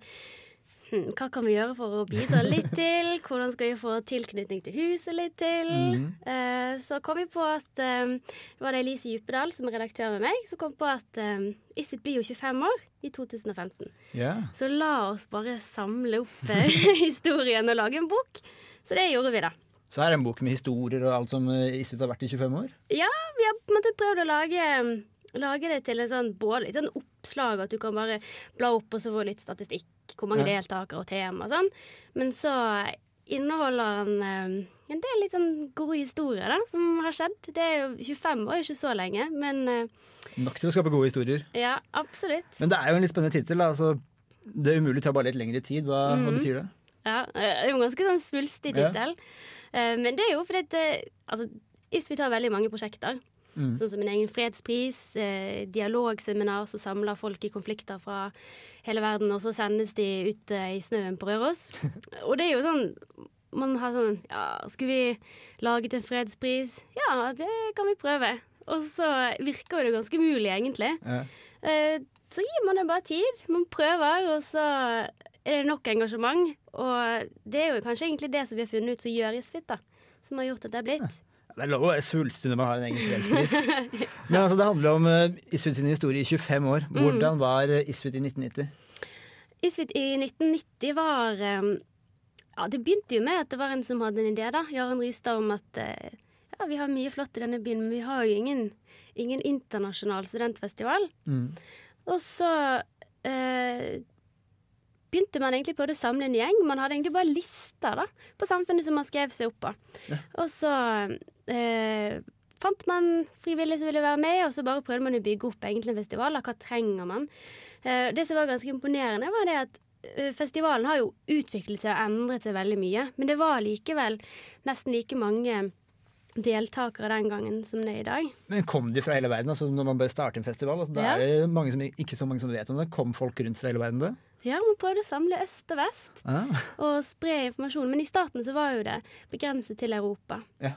hm, hva kan vi gjøre for å bidra litt til? Hvordan skal vi få tilknytning til huset litt til?
Mhm.
Eh, så kom vi på at eh, Det var det Elise Djupedal, som er redaktør med meg, som kom på at eh, ISFIT blir jo 25 år i 2015.
Ja.
Så la oss bare samle opp eh, historien og lage en bok. Så det gjorde vi, da.
Så her er en bok med historier og alt som eh, ISFIT har vært i 25 år.
Ja, vi har på en måte prøvd å lage, lage det til en sånn, både litt sånn oppslag, at du kan bare bla opp og så få litt statistikk, hvor mange
Ja.
deltakere og tema og sånn. Men så inneholder han eh, en del litt sånn gode historier da, som har skjedd. Det er jo 25 år, ikke så lenge, men eh,
Nok til å skape gode historier.
ja, absolutt.
Men det er jo en litt spennende tittel. da, Altså, 'Det umulige tar bare litt lengre tid'. Hva, hva
Mhm.
betyr det?
Ja, eh, det er jo en ganske sånn svulstig
Ja.
tittel. Eh, Men det er jo fordi at eh, altså, ISFI tar veldig mange prosjekter.
Mm.
Sånn som en egen fredspris, eh, dialogseminar som samler folk i konflikter fra hele verden, og så sendes de ut eh, i snøen på Røros. Og det er jo sånn man har sånn Ja, skulle vi laget en fredspris? Ja, det kan vi prøve. Og så virker jo det ganske mulig, egentlig.
Ja.
Eh, Så gir man det bare tid. Man prøver, og så er det nok engasjement. Og det er jo kanskje egentlig det som vi har funnet ut som gjør ISFIT, da. Som har gjort at det er blitt.
Det er lov å være svulstig når man har en egen fredspris. Men altså, det handler om eh, ISFIT sin historie i 25 år.
Mhm.
Hvordan var eh, ISFIT i 1990?
ISFIT i 1990 var eh, Ja, det begynte jo med at det var en som hadde en idé, da. Jaren Rystad om at eh, ja, vi har mye flott i denne byen, men vi har jo ingen, ingen internasjonal studentfestival.
Mm.
Og så eh, begynte man egentlig på å samle en gjeng. Man hadde egentlig bare lister da, på samfunnet som man skrev seg opp på. Og så eh, fant man frivillige som ville være med, og så bare prøvde man å bygge opp egentlig en festival. Da. Hva trenger man? Eh, det som var ganske imponerende, var det at eh, festivalen har jo utviklet seg og endret seg veldig mye. Men det var likevel nesten like mange deltakere den gangen som det er i dag.
Men Kom de fra hele verden? altså Når man bare starter en festival, altså, da
Ja.
er det mange som, ikke så mange som vet om det. Kom folk rundt fra hele verden da?
Ja, man prøvde å samle øst og vest
Ah.
og spre informasjon. Men i starten så var jo det begrenset til Europa.
Ja.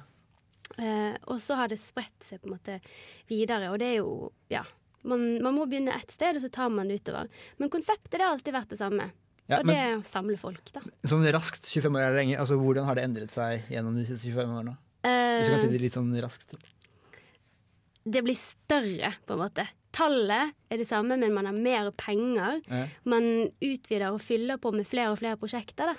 Eh, og så har det spredt seg på en måte videre, og det er jo Ja. Man, man må begynne ett sted, og så tar man det utover. Men konseptet det har alltid vært det samme.
Ja,
og det er
men-
å samle folk, da.
Sånn raskt, 25 år er lenge. altså Hvordan har det endret seg gjennom de siste 25 årene? Hvis du
Eh,
kan si det litt sånn raskt.
det blir større, på en måte. Tallet er det samme, men man har mer penger.
Ja.
Man utvider og fyller på med flere og flere prosjekter. Da.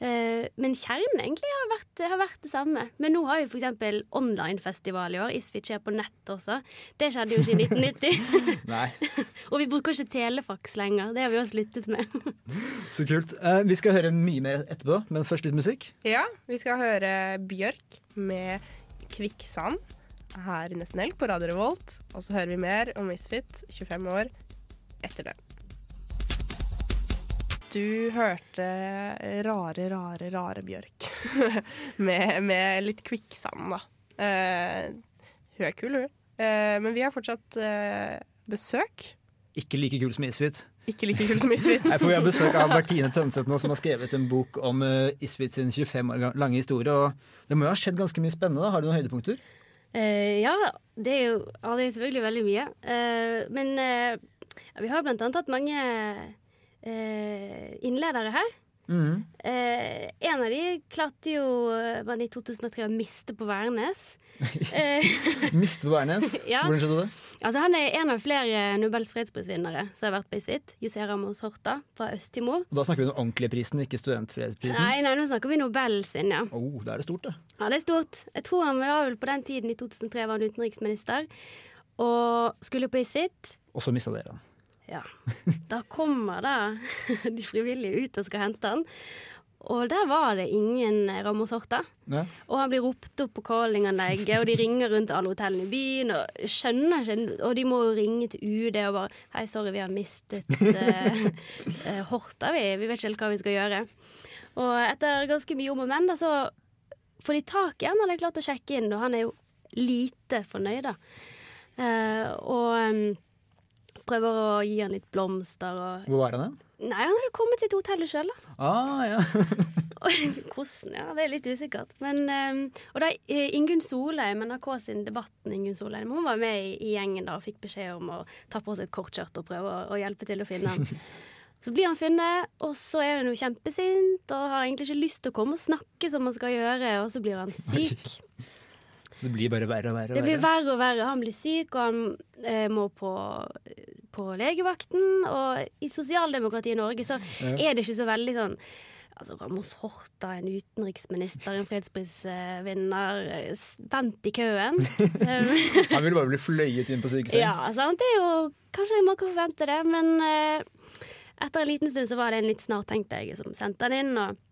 Eh, Men kjernen egentlig har vært, har vært det samme. Men nå har jo f.eks. onlinefestival i år. ISFIT skjer på nett også. Det skjedde jo ikke i 1990.
Nei,
og vi bruker ikke telefax lenger. Det har vi også sluttet med.
Så kult. Eh, vi skal høre mye mer etterpå, men først litt musikk.
Ja, vi skal høre Bjørk med Kvikksand her i Nesten Helg på Radio Revolt. Og så hører vi mer om Misfit 25 år etter det. Du hørte rare, rare, rare Bjørk med, med litt kvikksand, da. Eh, hun er kul, hun. Eh, men vi har fortsatt eh, besøk.
Ikke like kul som Isfit.
Ikke like kul som Misfit.
Nei, for Vi har besøk av Bertine Tønseth nå, som har skrevet en bok om uh, Isfit sin 25 år lang- lange historie. og Det må jo ha skjedd ganske mye spennende? da. Har du noen høydepunkter?
Eh, ja, det er jo ja, det er selvfølgelig veldig mye. Eh, men eh, ja, vi har blant annet hatt mange eh, innledere her.
Mhm.
Eh, en av de klarte jo eh, var det i 2003 å miste på Værnes. Eh,
Miste på Værnes?
Ja.
Hvordan skjedde det?
altså han er en av flere Nobels fredsprisvinnere som har vært på Isfit. José Ramos Horta fra Øst-Timor.
Og da snakker vi om den ordentlige prisen, ikke studentfredsprisen.
Nei, nei, nå snakker vi Nobel sin, ja.
Oh, da er det stort, da.
Ja, det er stort. Jeg tror han var vel på den tiden, i 2003 var han utenriksminister, og skulle på Isfit.
Og så mista dere han.
Ja. Da kommer da de frivillige ut og skal hente han. Og der var det ingen Ramos Horta.
Ja.
Og han blir ropt opp på callinganlegget, og de ringer rundt til alle hotellene i byen. Og skjønner ikke, og de må jo ringe til UD og bare 'Hei, sorry, vi har mistet eh, eh, Horta, vi. Vi vet ikke helt hva vi skal gjøre'. Og etter ganske mye om og men, da, så får de tak i han. Han har klart å sjekke inn, og han er jo lite fornøyd, da. Eh, og em, prøver å gi han litt blomster og
Hvor var han hen?
Nei, han hadde kommet seg til hotellet sjøl, da.
Ah, ja.
Hvordan? Ja, det er litt usikkert. Men, ehm, og da eh, Ingunn Solheim, NRK sin Debatten, Ingunn Solheim, hun var med i, i gjengen da og fikk beskjed om å ta på seg et kortskjørt og prøve å, å hjelpe til å finne han. Så blir han funnet, og så er han jo kjempesint og har egentlig ikke lyst til å komme og snakke som han skal gjøre, og så blir han syk.
Så det blir bare verre og verre. og
Det blir
verre.
verre og verre. Han blir syk, og han eh, må på, på legevakten. Og i sosialdemokratiet i Norge så
Ja.
er det ikke så veldig sånn Altså Ramos Horta, en utenriksminister, en fredsprisvinner. eh, s- Vent i køen. Um,
Han ville bare bli fløyet inn på sykesengen.
ja, sant. Det er jo Kanskje man kan forvente det, men eh, etter en liten stund så var det en litt snarttenkt jeg som sendte han inn. og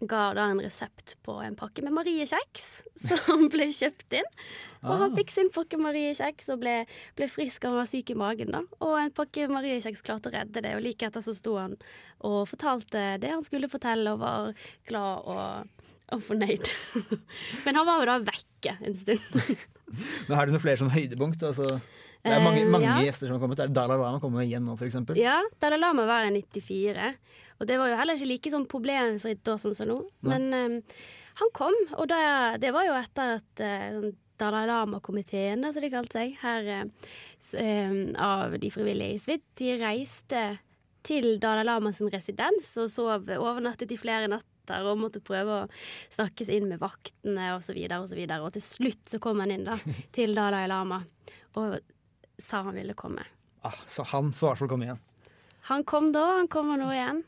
Ga da en resept på en pakke med Mariekjeks, som ble kjøpt inn. Og han
Ah.
fikk sin pakke Mariekjeks og ble, ble frisk. Han var syk i magen, da. Og en pakke Mariekjeks klarte å redde det. Og like etter så sto han og fortalte det han skulle fortelle, og var glad og, og fornøyd. Men han var jo da vekke en stund.
Men har du noen flere som høydepunkt? Altså, det er
Eh,
mange, mange
ja.
gjester som har kommet. Er det Dalai Lama kommer igjen nå, f.eks.?
Ja, Dalai Lama var i 94. Og det var jo heller ikke like sånn problemfritt da sånn som nå.
Nei.
Men eh, han kom, og da, det var jo etter at eh, sånn Dalai Lama-komiteen, da, som de kalte seg, her eh, s- eh, av de frivillige i Svit, de reiste til Dalai Lama sin residens og sov overnattet i flere natter og måtte prøve å snakkes inn med vaktene osv. Og, så videre, og, så videre. og til slutt så kom han inn da til Dalai Lama og sa han ville komme.
Ah, så han får i hvert fall komme igjen.
Han kom da, han kommer nå igjen.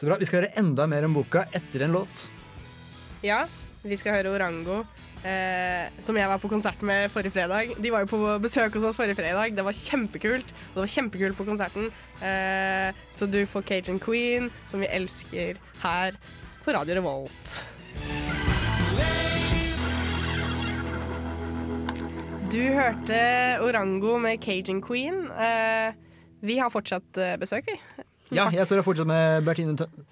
Så bra. Vi skal høre enda mer om boka etter en låt.
Ja, vi skal høre Orango, eh, som jeg var på konsert med forrige fredag. De var jo på besøk hos oss forrige fredag. Det var kjempekult. Og det var kjempekult på konserten. Eh, så du får Cajun Queen, som vi elsker, her på Radio Revolt. Du hørte Orango med Cajun Queen. Eh, vi har fortsatt eh, besøk, vi.
Ja, jeg står her fortsatt med Bertine Tøn-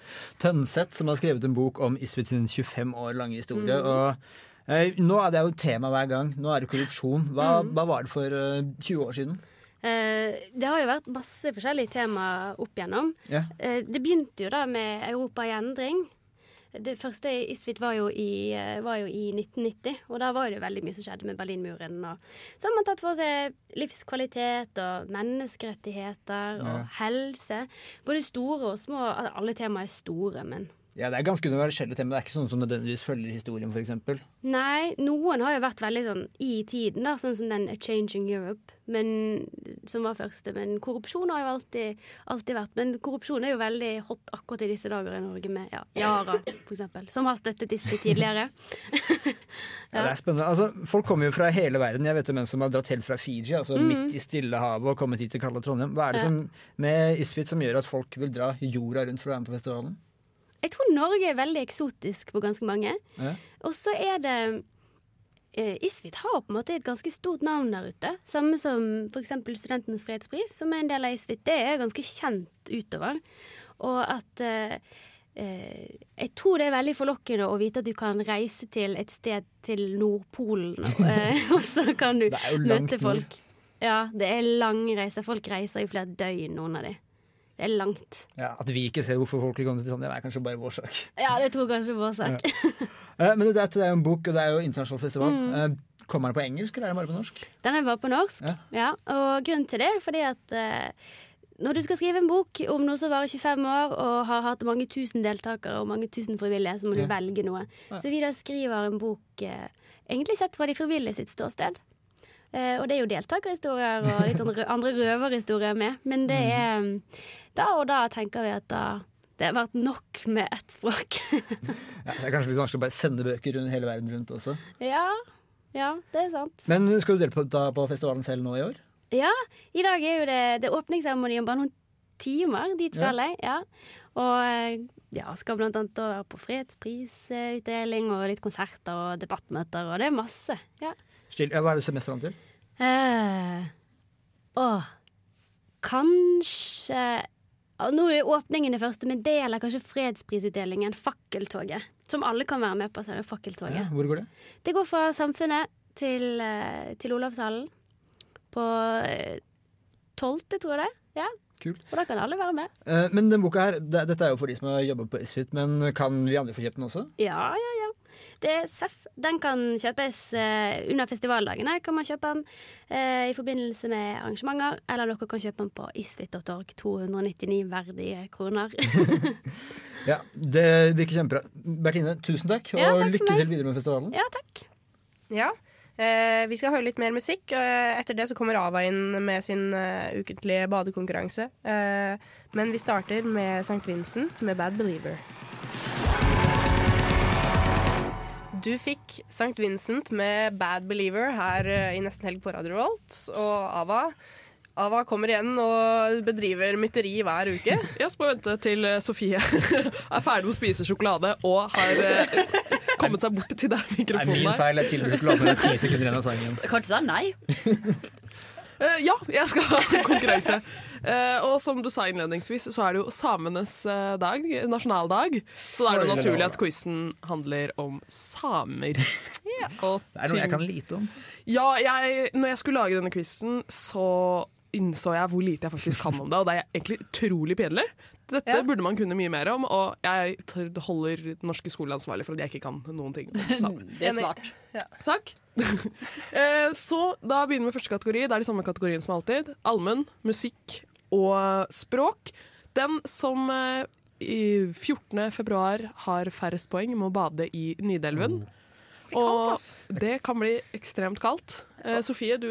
Tønseth, som har skrevet en bok om Isfit sin 25 år lange historie.
Mm.
Og eh, nå er det jo et tema hver gang. Nå er det korrupsjon. Hva, hva var det for eh, 20 år siden?
Eh, det har jo vært masse forskjellige temaer opp igjennom.
Ja.
Eh, det begynte jo da med Europa i endring. Det første ISFIT var jo, i, eh, var jo i 1990, og da var det jo veldig mye som skjedde med Berlinmuren. Og så har man tatt for seg livskvalitet og menneskerettigheter og
Ja.
helse. Både store og små. Altså, alle temaer er store, men
Ja, Det er ganske universelle tema. Det er ikke sånne som nødvendigvis følger historien, f.eks.
Nei, noen har jo vært veldig sånn i tiden, da, sånn som den A Changing Europe, men, som var første. Men korrupsjon har jo alltid, alltid vært. Men korrupsjon er jo veldig hot akkurat i disse dager i Norge, med ja, Yara f.eks., som har støttet disse tidligere.
Ja, det er spennende. Altså, folk kommer jo fra hele verden. Jeg vet om en som har dratt helt fra Fiji, altså
Mhm.
midt i Stillehavet, og kommet hit til kalde Trondheim. Hva er det
Ja.
som, med Isfit som gjør at folk vil dra jorda rundt for å være med på festivalen?
Jeg tror Norge er veldig eksotisk på ganske mange.
Ja.
Og så er det eh, Isfit har på en måte et ganske stort navn der ute. Samme som f.eks. Studentenes fredspris, som er en del av Isfit. Det er ganske kjent utover. Og at eh, eh, Jeg tror det er veldig forlokkende å vite at du kan reise til et sted til Nordpolen, eh, og så kan du
jo langt
møte
nord.
folk. Ja, det er lang reise. Folk reiser i flere døgn, noen av de. Det er langt.
Ja, At vi ikke ser hvorfor folk vil komme til Trondheim, er kanskje bare vår sak.
Ja, det tror jeg kanskje vår sak.
Eh, Men det er, det er jo en bok, og det er jo internasjonal festival.
Mm.
Eh, Kommer den på engelsk, eller er den bare på norsk?
Den er bare på norsk. Ja. Og grunnen til det er fordi at eh, Når du skal skrive en bok om noe som varer 25 år og har hatt mange tusen deltakere og mange tusen frivillige, så må du
Ja.
velge noe.
Ja.
Så vi da skriver en bok eh, egentlig sett fra de frivillige sitt ståsted. Eh, og det er jo deltakerhistorier og litt andre, andre røverhistorier med. Men
Mm.
det er eh, da og da tenker vi at da det har vært nok med ett språk.
Ja, så det er kanskje litt vanskelig å bare sende bøker rundt hele verden rundt også.
ja, ja, det er sant.
Men skal du delta på, da på festivalen selv nå i år?
Ja, i dag er jo det, det er åpningsseremoni om bare noen timer. Dit skal
Ja.
jeg. ja. Og eh, ja, skal blant annet da være på fredsprisutdeling og litt konserter og debattmøter, og det er masse. Ja.
Still, ja, hva er det du ser mest fram til?
Eh, åh, kanskje ja, Nå er åpningen det første, men det gjelder kanskje fredsprisutdelingen, fakkeltoget. Som alle kan være med på, så er det fakkeltoget.
Ja, hvor går det?
Det går fra Samfunnet til, eh, til Olavshallen på eh, 12., tror jeg det. er. Ja.
Kult.
Og da kan alle være med.
Eh, Men den boka her, det, dette er jo for de som har jobba på Isfit, men kan vi andre få kjøpt den også?
Ja, ja, ja. Det er SEF. Den kan kjøpes eh, under festivaldagene. Kan man kjøpe den eh, i forbindelse med arrangementer, eller dere kan kjøpe den på isfit.org. 299 verdige kroner.
Ja, Det virker kjempebra. Bertine, tusen takk, og
Ja, takk for
lykke
meg.
til videre med festivalen.
ja, takk.
Ja. Eh, vi skal høre litt mer musikk. Eh, etter det så kommer Ava inn med sin eh, ukentlige badekonkurranse. Eh, men vi starter med St. Vincent med Bad Believer. Du fikk St. Vincent med Bad Believer her eh, i Nesten helg på Radio Revolt. Og Ava, Ava kommer igjen og bedriver mytteri hver uke.
Jeg skal bare vente til eh, Sofie er ferdig med å spise sjokolade og har eh, kommet seg bort til der
Det er
mikrofonen
min feil. Jeg tilbyr sjokolade når det er ti sekunder igjen av sangen.
Kan ikke si nei. Eh, ja, jeg skal ha konkurranse. Eh, og som du sa innledningsvis, så er det jo samenes eh, dag, nasjonaldag. Så da er det jo naturlig at quizen handler om samer. Og
Det er noe jeg
ting-
kan lite om.
ja, jeg, når jeg skulle lage denne quizen, så innså jeg hvor lite jeg faktisk kan om det, og det er egentlig utrolig pinlig. Dette burde man kunne mye mer om, og jeg tør- holder den norske skole ansvarlig for at jeg ikke kan noen ting. om samer.
Det er smart.
Takk. Eh, så da begynner vi med første kategori. Det er de samme kategoriene som alltid. Allmenn, musikk og språk. Den som eh, i 14. februar har færrest poeng, må bade i Nidelven. Og det kan bli ekstremt kaldt. Eh, Sofie, du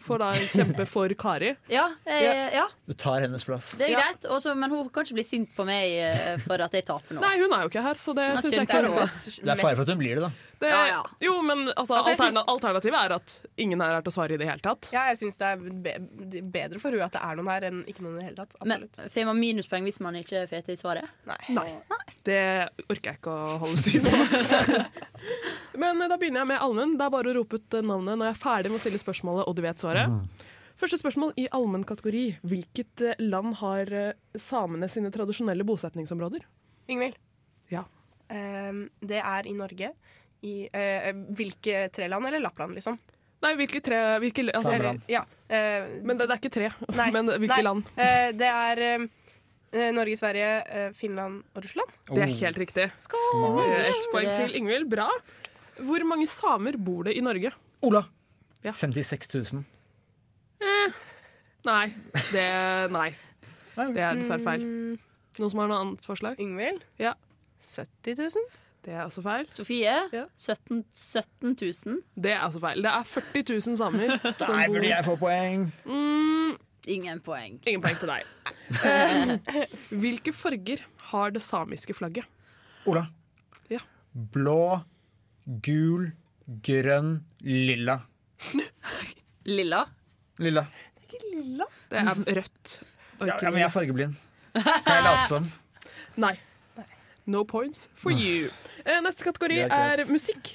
får da kjempe for Kari.
Ja, eh, ja.
Du tar hennes plass.
Det er greit, også, men hun kan ikke bli sint på meg eh, for at jeg taper nå.
Nei, hun er jo ikke her, så det
Ja,
syns
synd,
jeg
det
ikke
er
hun
også-
skal.
Det er fare for at hun blir det, da.
Det,
Ja, ja.
Jo, men altså,
Altså, jeg
alterna-
syns-
alternativet er at ingen her er til å svare i det hele tatt.
Ja, jeg syns det er be bedre for henne at det er noen her, enn ikke noen i det hele tatt.
Men får man minuspoeng hvis man ikke får til svaret?
Nei.
Det orker jeg ikke å holde styr på. Men eh, da begynner jeg med allmenn. Det er bare å rope ut eh, navnet når jeg er ferdig med å stille spørsmålet, og du vet svaret. Første spørsmål i allmenn kategori. Hvilket eh, land har eh, samene sine tradisjonelle bosetningsområder?
Yngvild.
Ja.
Ehm, det er i Norge. I, eh, hvilke tre land? Eller Lappland, liksom?
Nei, hvilke tre hvilke, altså- Samme land.
Ja.
Men det, det er ikke tre. Men hvilke land?
Eh, det er eh, Norge, Sverige, eh, Finland og Russland.
Det er helt riktig.
Skål!
Eh, Ett poeng til Ingvild. Bra. Hvor mange samer bor det i Norge?
Ola.
Ja.
56 000.
Eh, nei. Det, nei. Det er dessverre feil.
Mm.
Noen som har noe annet forslag?
Ingvild?
Ja.
70 000?
Det er også feil.
Sofie? 17, 17 000?
Det er også feil. Det er 40 000 samer som
Der burde jeg få poeng!
Mm,
Ingen poeng.
ingen poeng til deg. Eh, hvilke farger har det samiske flagget?
Ola.
Ja.
Blå, gul, grønn, lilla.
Lilla?
Lilla.
Lilla? Det er rødt. Og
Ja,
ikke
ja, men jeg er fargeblind. Kan jeg late som?
Nei. No points for you. Eh, neste kategori
Greit, greit.
er musikk.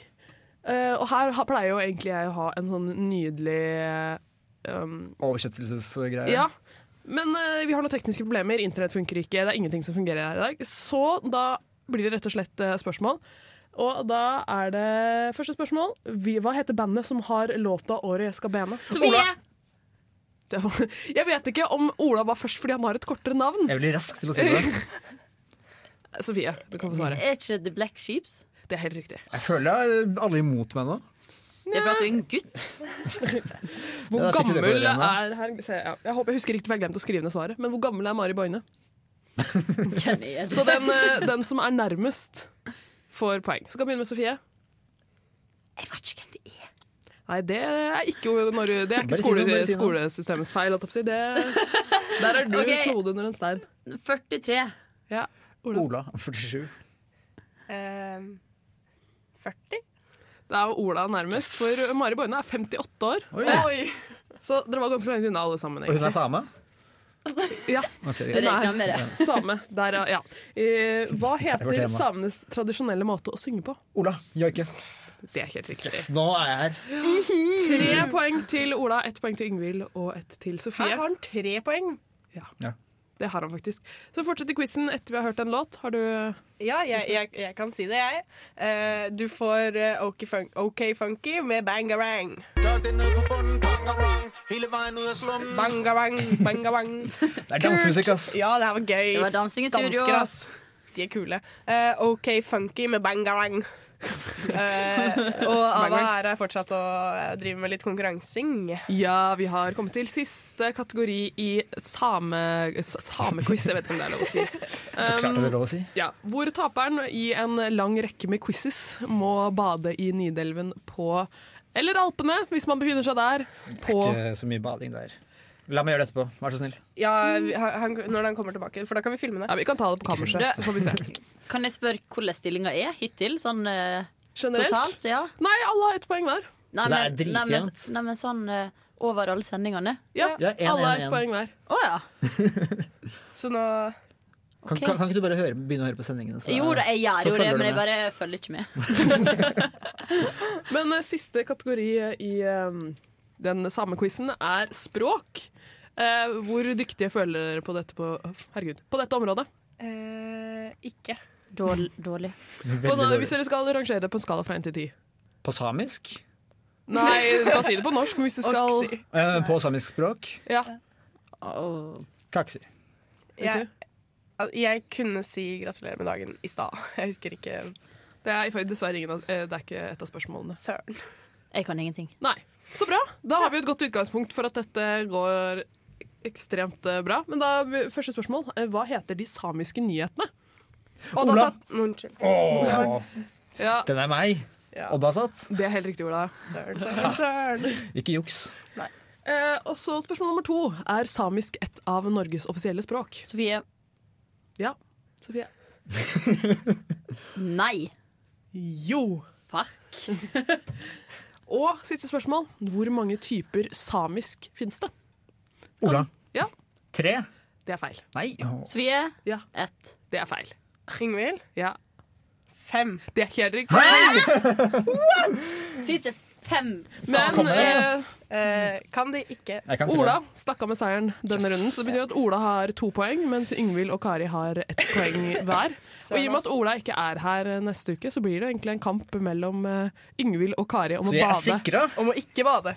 Eh, og her har- pleier jo egentlig jeg å ha en sånn nydelig um,
Oversettelsesgreier.
Ja. Men eh, vi har noen tekniske problemer. Internett funker ikke. Det er ingenting som fungerer her i dag. Så da blir det rett og slett eh, spørsmål. Og da er det første spørsmål. Vi, hva heter bandet som har låta 'Året jeg skal bene'? Ola. Det var, jeg vet ikke om Ola var først fordi han har et kortere navn.
Jeg blir rask til å si det.
Sofie,
Mm.
du kan få svare.
Er ikke det The Black Sheeps?
Det er helt riktig.
Jeg føler jeg er alle imot meg nå.
Det er for at du er en gutt.
Hvor
Ja, da fikk du det på
gammel
det rene.
er her, se, ja, Jeg håper jeg husker riktig, for jeg har glemt å skrive ned svaret. Men hvor gammel er Mari Boine? Så den, eh, den som er nærmest, får poeng. Så kan vi begynne med Sofie. Jeg vet ikke hvem det er. Nei, det er ikke, Mari, det er
Bare
ikke
si noe,
skole,
bare si noe.
skolesystemets feil. holdt jeg på å si. Det, der er du
Ok.
som hodet under en stein.
43.
Ja.
Ola, 47.
Ehm,
40? Det er jo Ola nærmest, for Mari Boine er 58 år.
Oi.
Så dere var ganske langt unna alle sammen.
Og hun er
egentlig.
same?
Ja.
Ok,
Hun
greit.
er
Regner med det.
Same. Der, ja, ja. Eh, hva
var
heter
tema.
samenes tradisjonelle måte å synge på?
Ola. Joike.
Det er helt riktig.
Yes, nå er jeg her.
Tre poeng til Ola, ett poeng til Yngvild og ett til Sofie. Her har han tre poeng? Ja.
Ja.
Det har han faktisk. Så fortsetter quizen etter vi har hørt en låt. Har du
Ja, jeg, jeg, jeg kan si det, jeg. Eh, du får eh, OK, fun OK Funky med Bangarang. Bangarang, bangarang.
Det er dansemusikk, ass.
Ja, det her var gøy.
Det var dansing i studio.
Dansker, ass. De er kule. Eh, OK Funky med Bangarang. Eh, og Ava
Bangarang.
er her fortsatt og eh, driver med litt konkurransing.
Ja, vi har kommet til siste kategori i same, s- samequiz. Jeg vet ikke om det er lov å si.
Så klart
Um,
det er lov å si.
Ja, hvor taperen i en lang rekke med quizzes må bade i Nidelven på Eller Alpene, hvis man befinner seg der. På
Ikke så mye bading der. La meg gjøre det etterpå, vær så snill.
Ja,
Mm.
vi- han, han, når han kommer tilbake, for da kan vi filme det.
Ja, Vi kan ta det på kammerset,
Det-
så får vi se.
Kan jeg spørre hvordan stillinga er hittil? Sånn eh,
Generelt?
totalt? Ja.
Nei, alle har ett poeng hver.
Nei,
Så det er
men- nei, men-
dritjevnt.
Nei, men sånn eh, over alle sendingene?
Ja,
Ja, en,
alle har
en,
ett
en.
poeng hver.
Å ja.
Så nå
Kan, kan, kan ikke du bare høre, begynne å høre på sendingene? så-
Jo da, jeg gjør
så
jo det,
følger du
men jeg
med.
bare følger ikke med.
Men eh, siste kategori i eh, den samme quizen er språk. Eh, hvor dyktige føler dere på dette, på, herregud, på dette området?
Eh, ikke.
Dårlig. dårlig.
På,
Veldig dårlig.
hvis dere skal rangere det på en skala fra 1 til 10.
På samisk?
Nei, du kan si det på norsk, men hvis du skal
Eh, på samisk språk?
ja.
Kaksi.
Jeg, al- jeg kunne si gratulerer med dagen i stad. Jeg husker ikke
Det er ifølge dessverre ingen av, eh, det er ikke et av spørsmålene.
Søren.
Jeg kan ingenting.
Nei. Så bra. Da har vi jo et godt utgangspunkt for at dette går ekstremt eh, bra. Men da, første spørsmål. Eh, Hva heter de samiske nyhetene?
Og da
Ola.
satt Unnskyld.
Åh,
Ja,
den er meg! Odda satt.
det er helt riktig, Ola.
Søren, søren, søren.
Ikke juks.
Eh, og så spørsmål nummer to. Er samisk et av Norges offisielle språk?
Sofie.
Ja. Sofie.
Nei.
Jo.
Fuck.
og siste spørsmål. Hvor mange typer samisk finnes det?
Ola.
Ja,
Tre?
det er feil.
Nei. åh.
Sofie.
Ja.
Ett.
Det er feil.
Ingvild?
Ja.
Fem.
Det er helt riktig.
Fins det fem
Men eh,
Eh, kan de ikke
Jeg kan
Ola
tilbake.
stakk av med seieren denne
Yes.
runden. Så det betyr at Ola har to poeng, mens Yngvild og Kari har ett poeng hver. Og i og med at Ola ikke er her eh, neste uke, så blir det egentlig en kamp mellom eh, Yngvild og Kari om
Så
å
jeg er
bade.
sikra?
Om å ikke bade.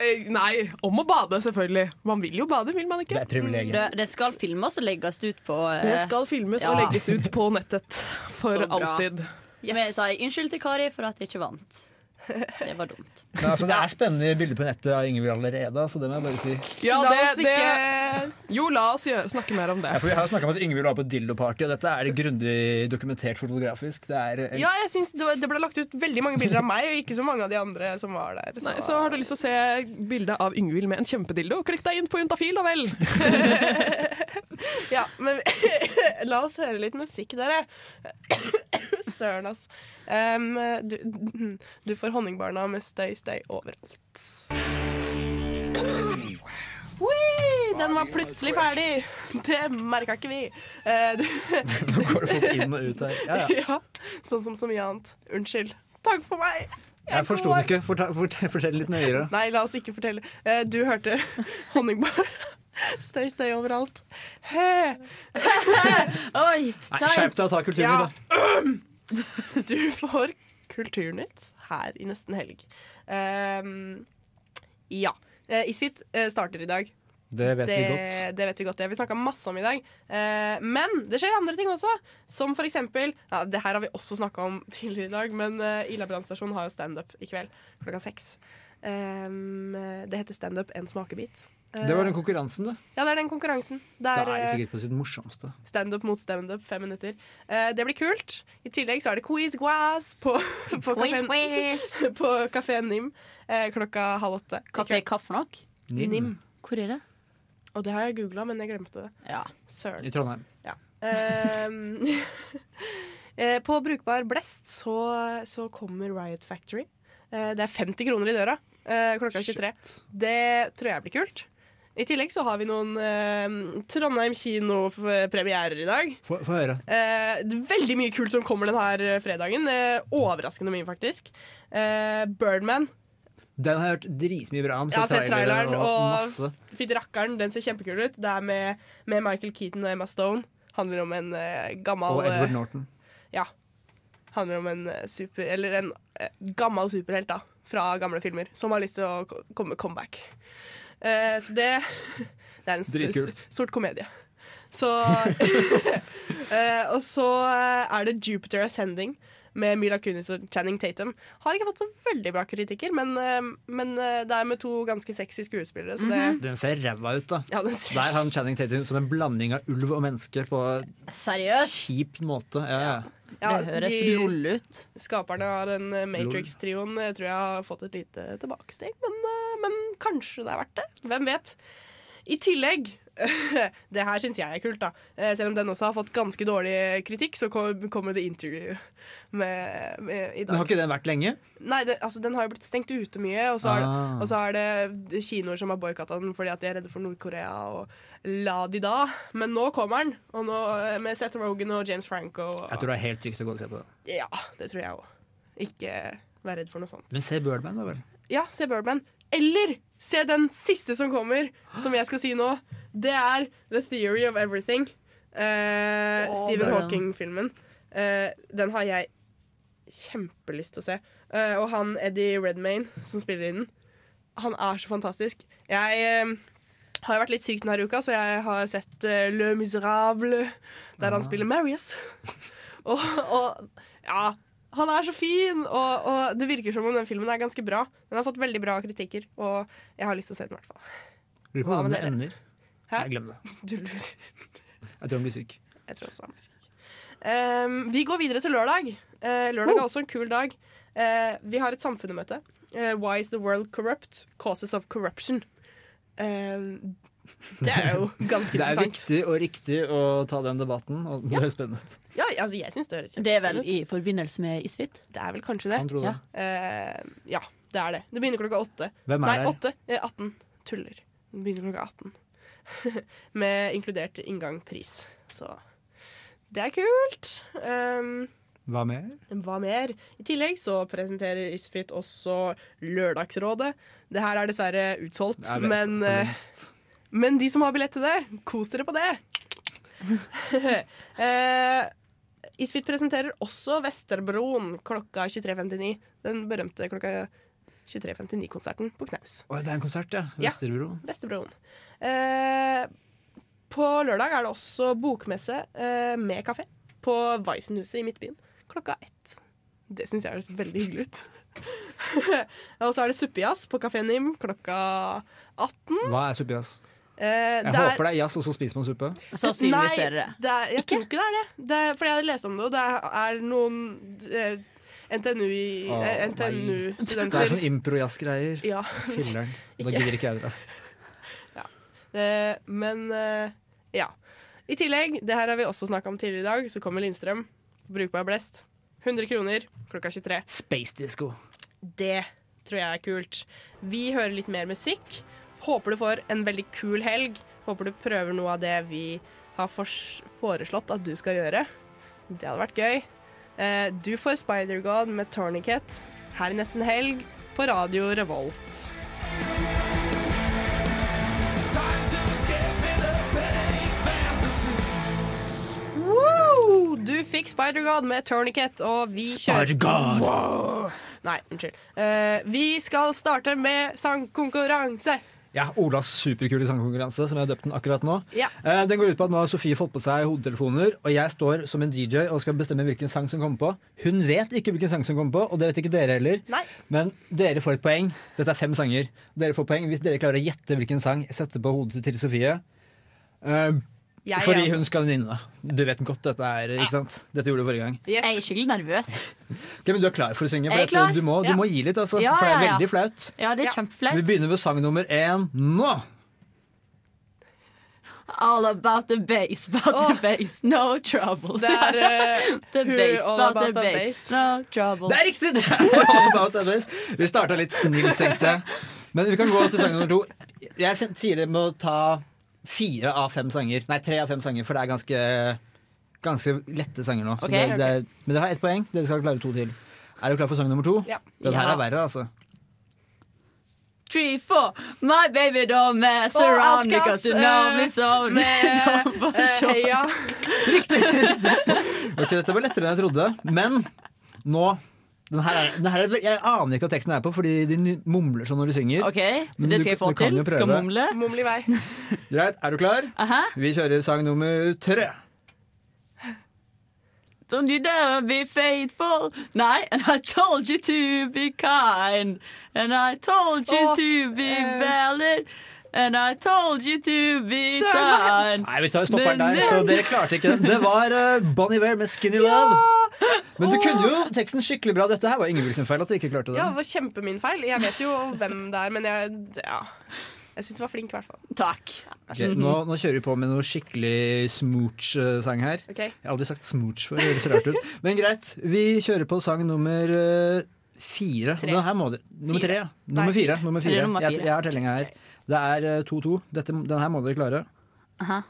Eh, Nei, om å bade, selvfølgelig. Man vil jo bade, vil man ikke?
Det er et privilegium.
Det, det skal filmes og legges ut på eh,
Det skal filmes og
ja.
legges ut på nettet for
Så bra.
alltid.
Som jeg sa, unnskyld til Kari for at jeg ikke vant. Det var dumt.
Men altså, det er spennende bilder på nettet av Ingvild allerede, så det må jeg bare si.
Ja,
La
det,
oss
det, jo, la oss gjøre, snakke mer om det.
Ja, for vi har jo snakka om at Ingvild var på dildoparty, og dette er grundig dokumentert fotografisk. Det er eh, en
Ja, jeg synes det, var, det ble lagt ut veldig mange bilder av meg, og ikke så mange av de andre som var der. Så.
Nei, så har du lyst til å se bilde av Yngvild med en kjempedildo, klikk deg inn på Juntafil, da vel!
Ja, men la oss høre litt musikk, dere. Søren, ass. Em, du, du får Honningbarna med støy, støy overalt. Ui, den var plutselig ferdig! Det merka ikke vi. Eh, du,
Nå går det fort inn og ut her. Ja, ja.
ja, sånn som så mye annet. Unnskyld. Takk for meg!
Jeg forsto det ikke. Forta- fort- Fortell litt nøyere.
Nei, la oss ikke fortelle. Eh, Du hørte Honningbarn. Støy, støy overalt. He.
Oi!
Nei, Skjerp deg og ta kulturen
Ja.
min, da.
Du får Kulturnytt her i nesten helg. Ehm, ja. Eh, Isfit eh, starter i dag
Det vet vi godt.
Det vet vi godt, det. Vi snakka masse om i dag. Eh, men det skjer andre ting også, som for eksempel ja, Det her har vi også snakka om tidligere i dag, men eh, Ila brannstasjon har jo standup i kveld klokka seks. Ehm, det heter Standup en smakebit. Eh,
Det var den konkurransen, da.
Ja, det er den konkurransen. Det
Da
er,
er de
eh,
sikkert på sitt morsomste.
Standup mot standup, fem minutter. Eh, det blir kult. I tillegg så er det quiz guaz på, på
Quiz,
kafeen- på Kafé Nim eh, klokka halv åtte. Kafé
hva for noe?
Nim.
Hvor er det?
Og det har jeg googla, men jeg glemte det. Søren.
I Trondheim.
Ja. Ehm, eh, på Brukbar Blest så, så kommer Riot Factory. Eh, det er 50 kroner i døra eh, klokka 23. Det tror jeg blir kult. I tillegg så har vi noen eh, Trondheim kinopremierer i dag.
Få få høre.
Eh, det er veldig mye kult som kommer denne fredagen. Eh, overraskende mye, faktisk. Eh, Birdman.
Den har jeg hørt dritmye bra om.
Jeg har sett traileren,
masse.
og fytti rakkeren, den ser kjempekul ut. Det er med, med Michael Keaton og Emma Stone. Handler om en eh, gammel
Og Edward
eh,
Norton.
Ja. Handler om en eh, super Eller en eh, gammel superhelt, da. Fra gamle filmer. Som har lyst til å ko- komme med comeback. Eh, så det Det er en s-
Dritkult.
s- sort komedie. Så eh, Og så eh, er det Jupiter Ascending. Med Mila Kunis og Channing Tatum. Har ikke fått så veldig bra kritikker, men, eh, men eh, det er med to ganske sexy skuespillere. Så det,
Den ser ræva ut, da.
Ja, den ser-
Der har han Channing Tatum som en blanding av ulv og menneske på
Seriøst?
kjip måte. Ja, ja.
de- Skaperne av den eh, Matrix-trioen eh, tror jeg har fått et lite tilbakesteg, men, eh, men kanskje det er verdt det. Hvem vet? I tillegg Det her syns jeg er kult, da. Eh, Selv om den også har fått ganske dårlig kritikk, så kom- kommer det interview med, med, i dag.
Men har ikke den vært lenge?
Nei, det, altså, den har jo blitt stengt ute mye. Og så, er det,
Ah.
og så er det kinoer som har boikotta den fordi at de er redde for Nord-Korea. Og la de da. Men nå kommer den, og nå, eh, med Seth Rogan og James Franco. Og,
Jeg tror det er helt trygt å gå og se på den.
Ja, det tror jeg òg. Ikke vær redd for noe sånt.
Men se Birdman, da vel.
Ja, se Birdman. Eller se den siste som kommer, som jeg skal si nå. Det er The Theory of Everything. Eh,
Åh, det
Stephen
er den.
Hawking-filmen. Eh, den har jeg kjempelyst til å se. Eh, og han Eddie Redmayne som spiller i den, han er så fantastisk. Jeg eh, har jo vært litt syk denne uka, så jeg har sett eh, Le Miserable, der
Ah.
han spiller Marius. og, og ja Han er så fin! Og, og det virker som om den filmen er ganske bra. Den har fått veldig bra kritikker, og jeg har lyst til å se den i hvert fall.
Lurer på
Hva
hvordan
med
det ender.
Hæ?
Nei, glem det.
Du lurer.
Jeg tror han blir syk.
Jeg tror også han blir syk. Ehm, vi går videre til lørdag. Eh, lørdag er også en kul dag. Eh, vi har et samfunnemøte. Eh, Why is the world corrupt? Causes of corruption. Ehm, det er jo ganske
Det er
interessant.
viktig og riktig å ta den debatten, og det er spennende. ut.
Ja, altså, jeg synes det høres
Det er vel
kjempespennende ut.
i forbindelse med Isfit?
Det er vel kanskje det.
Kan tro det.
Eh, ja, det er det. Det begynner klokka åtte.
Hvem er
Nei,
der?
åtte. Eh, 18. Tuller. Det begynner klokka 18. Med inkludert inngangpris. Så det er kult. Ehm,
Hva mer?
hva mer? I tillegg så presenterer Isfit også Lørdagsrådet. Det her er dessverre utsolgt,
Jeg vet,
men,
for
eh,
lengst.
men de som har billett til det, kos dere på det! eh, Isfit presenterer også Vesterbroen klokka 23.59. Den berømte klokka 23.59-konserten på Knaus.
Å, det er en konsert, ja.
Ja.
Vesterbro.
Vesterbroen. Eh, på lørdag er det også bokmesse eh, med kafé på Weissenhuset i Midtbyen klokka ett. Det syns jeg høres veldig hyggelig ut. Og så er det suppejazz på Kafé Nim klokka 18.
Hva er suppejass?
Eh,
Jeg håper det er jazz, og så spiser man suppe.
Nei, det er, jeg tror ikke det er det. det er, fordi jeg leste om det, og det er noen eh, NTNU i- eh,
Å, nei. Det er
NTNU-studenter
sånn impro-jazz-greier.
Ja.
Filler'n. Da
Ikke.
gidder ikke jeg dra.
Eh, men eh, ja. I tillegg, det her har vi også snakka om tidligere i dag, så kommer Lindstrøm. Brukbar blest. 100 kroner klokka 23.
Space disco.
Det tror jeg er kult. Vi hører litt mer musikk. Håper du får en veldig kul helg. Håper du prøver noe av det vi har fors- foreslått at du skal gjøre. Det hadde vært gøy. Eh, Du får Spider-God med Tourniquet her i nesten helg på Radio Revolt. Wow! Du fikk Spider-God med Tourniquet, og vi kjører
Spider-God!
Wow! Nei, unnskyld. Eh, vi skal starte med sangkonkurranse.
Ja, Olas superkule sangkonkurranse, som jeg har døpt den akkurat nå.
Ja.
Eh, Den går ut på at nå har Sofie fått på seg hodetelefoner, og jeg står som en DJ og skal bestemme hvilken sang som kommer på. Hun vet ikke hvilken sang som kommer på, og det vet ikke dere heller. Men dere får et poeng. Dette er fem sanger. Dere får poeng hvis dere klarer å gjette hvilken sang jeg setter på hodet til Sofie. Eh,
Jeg,
fordi
altså.
hun skal nynne. Du vet godt dette er, ikke sant? Dette gjorde du forrige gang.
Jeg er skikkelig nervøs.
Ok, men du er klar for å synge?
Jeg
For
er
at,
klar.
Du, må, du
Ja.
må gi litt, altså.
Ja,
for det
ja,
er
ja.
veldig flaut.
Ja, det er
Vi
kjempeflaut.
begynner ved sang nummer én nå.
All about the base, about the base, no trouble.
Det er, eh,
the
who
base,
all
about, the
about the
base, no trouble.
Det er riktig! Det er All About That Bass. Vi starta litt snilt, tenkte jeg. Men vi kan gå til sang nummer to. Jeg sen- sier dere må ta fire av fem sanger. Nei, tre av fem sanger, for det er ganske, ganske lette sanger nå. Så
Ok,
det, det, er- Men dere har ett poeng. Dere skal klare to til. Er du klar for sang nummer to?
Ja.
Den her
Ja.
er verre, altså.
Three, four. My baby don't mess
Og
around
Outkast,
because you know
eh,
me so
med,
Don't push
eh, Heia.
on.
Ok, Dette var lettere enn jeg trodde, men nå den her er, den her er, jeg aner ikke hva teksten er på, fordi de ny- mumler sånn når de synger.
Ok,
Men
det
du-
skal jeg få
du kan
til.
jo
Skal
prøve.
mumle.
Mumle i vei.
Greit, er du klar? Vi kjører sang nummer tre.
Don't you dare be faithful. Nei, and I told you to be kind. And I told you
Åh,
to be
eh.
valid. And I told you to be kind.
Nei, vi tar stopperen
Men
der, så
den-
dere klarte ikke den. Det var uh, Bon Iver med 'Skinny Love'. Men du kunne jo teksten skikkelig bra. Dette her var Ingebrigtsen feil at dere ikke klarte
Ja, det
den.
var kjempe min feil. Jeg vet jo hvem det er, men jeg, ja. jeg syns du var flink i hvert fall.
Takk.
Ok, nå, nå kjører vi på med noe skikkelig smooch-sang her.
Ok.
Jeg har aldri sagt smooch før, det høres rart ut. Men greit, vi kjører på sang nummer eh, fire. Den her må dere Nummer tre, ja. Nummer fire. Nummer
Eller
fire.
nummer
Jeg,
fire.
jeg har tellinga her. Det er eh, 2-2. Dette- Den her må dere klare.
Aha.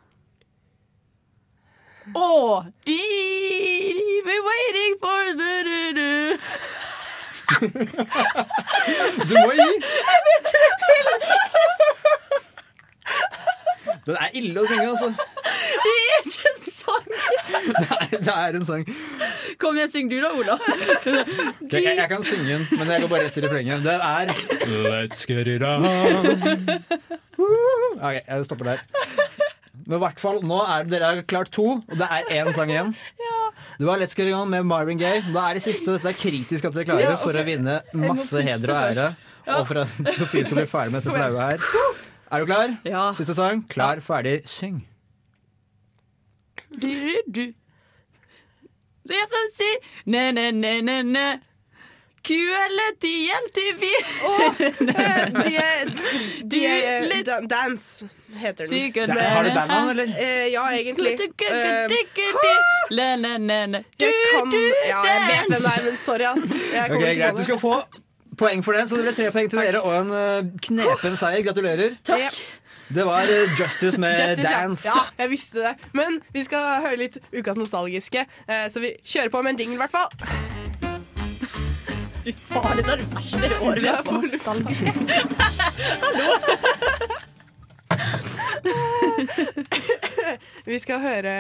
Oh, dee, dee, been waiting for du, du, du.
Du må gi!
Jeg vet ikke til!
Den er ille å synge, altså.
Det er ikke en sang.
Det er en sang.
Kom igjen, syng du da, Ola.
Ok, jeg, jeg kan synge den, men jeg går bare rett til refrenget. Det er Let's get it on. Ok, jeg stopper der. Men i hvert fall, nå er dere har klart to, og det er én sang igjen. Det var Let's Get It On med Marvin Gaye. Da er det siste, og dette er kritisk at dere klarer
Ja,
det
ok.
for å vinne
Jeg må
masse
puste
heder og ære.
Ja.
Og for at Sofie skal bli ferdig med dette flauet her. Er du klar? Siste sang. Klar, ferdig, syng.
du, du. Så jeg kan si ne, ne, ne, ne, ne. QL10LTV.
Du, eh, da- dance heter den.
Syken Dance, har du band
eh,
on,
eller?
ja, egentlig. Eh,
Le, ne, ne, ne.
jeg kan, ja, jeg vet hvem det er, men sorry, ass. Jeg kommer ikke
Ok,
på
greit.
det.
Du skal få poeng for det, så det ble tre poeng til dere og en eh, knepen seier. Gratulerer.
Takk.
Det var eh, Justice med
Justice, ja.
Dance.
Ja, jeg visste det. Men vi skal høre litt Ukas nostalgiske, eh, så vi kjører på med en jingle, i hvert fall. Fy faen, dette er det verste
året vi har vært
nostalgiske. Hallo! vi skal høre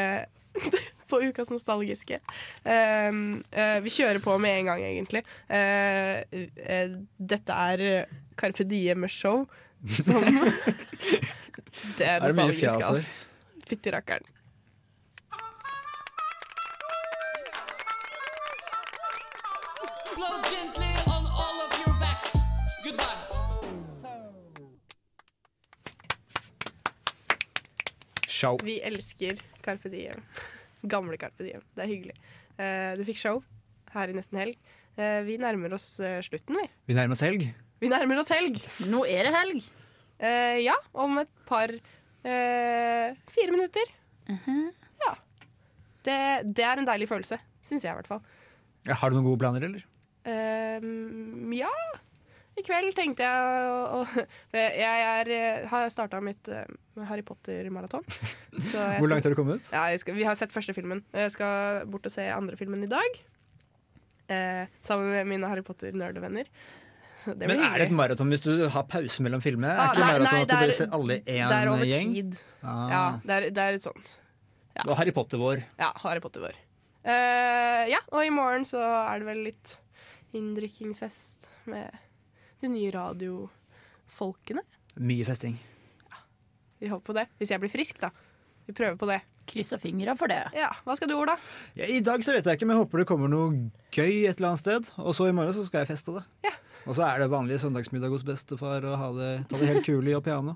på Ukas nostalgiske. Um, eh, vi kjører på med en gang, egentlig. Eh, eh, dette er eh, Carpe Diem-show som Det er
Er det mye fjas
nostalgisk,
her?
ass. Fytti rakkeren.
Blow gently on all of your backs. Goodbye.
Show.
Vi elsker Carpe Diem. Gamle Carpe Diem. Det er hyggelig. Eh, du fikk show her i nesten helg. Eh, vi nærmer oss eh, slutten, vi.
Vi nærmer oss helg.
Vi nærmer oss helg. Eh,
Nå er det helg.
ja, om et par eh, fire minutter. Ja. Det, det er en deilig følelse. Syns jeg, i hvert fall.
Ja, Har du noen gode planer, eller?
Ehm, ja. I kveld tenkte jeg å, å Jeg er, eh, har starta mitt eh, Harry Potter-maraton.
Hvor langt har du kommet?
Ja, jeg skal, vi har sett første filmen. Jeg skal bort og se andre filmen i dag. Eh, sammen med mine Harry Potter-nerdevenner. Det blir
Men er det et
hyggelig.
maraton hvis du har pause mellom filmer?
Ah,
er ikke
nei,
maraton
nei,
at du
det
bare
er-
ser alle i én
det er over
gjeng?
tid.
Ah.
Ja, det er, det er et sånt.
Det var Harry Potter-vår.
Ja, Harry Potter-vår. Eh, ja, og i morgen så er det vel litt inndrikkingsfest med de nye radiofolkene.
Mye festing.
Vi håper på det. Hvis jeg blir frisk, da. Vi prøver på det.
Kryssa fingra for det.
Ja, Hva skal du, Ola?
Ja, I dag så vet jeg ikke, men jeg håper det kommer noe gøy et eller annet sted. Og så i morgen så skal jeg feste, da. Og så er det vanlig søndagsmiddag hos bestefar og ha det, ta det helt kulig og piano.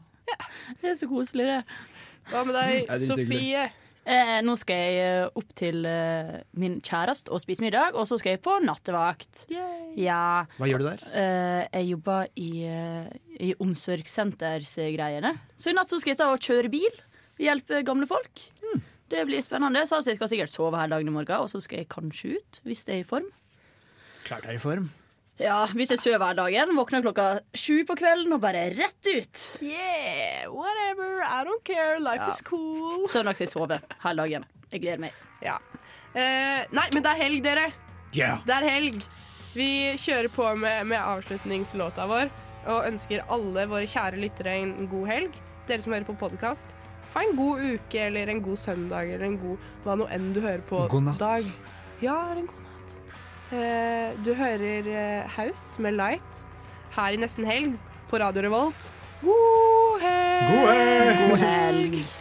Det er så koselig, det.
Hva med
deg, Ja, det er hyggelig. Sofie?
Eh, nå skal jeg eh, opp til eh, min kjæreste og spise middag, og så skal jeg på nattevakt. Ja.
Hva gjør du der?
Eh, jeg jobber i, eh, i omsorgssentersgreiene. Så i natt så skal jeg stå og kjøre bil. Hjelpe gamle folk. Det blir spennende. Så altså, jeg skal sikkert sove her dagen i morgen, og så skal jeg kanskje ut, hvis det er i form.
Klart jeg er i form.
Ja, hvis jeg sover hver dagen, våkner klokka sju på kvelden og bare rett ut.
Yeah, whatever, I don't care, life
Ja.
is cool.
Søndag skal jeg sove hele dagen. Jeg gleder meg.
Ja. Eh, nei, men det er helg, dere.
Yeah.
Det er helg. Vi kjører på med, med avslutningslåta vår og ønsker alle våre kjære lyttere en god helg. Dere som hører på podkast, ha en god uke eller en god søndag eller en god hva nå enn du hører på.
God natt.
Dag. Ja, en god natt. Eh, du hører eh, Haust med Light her i nesten helg på Radio Revolt. God helg!
God helg!
God helg.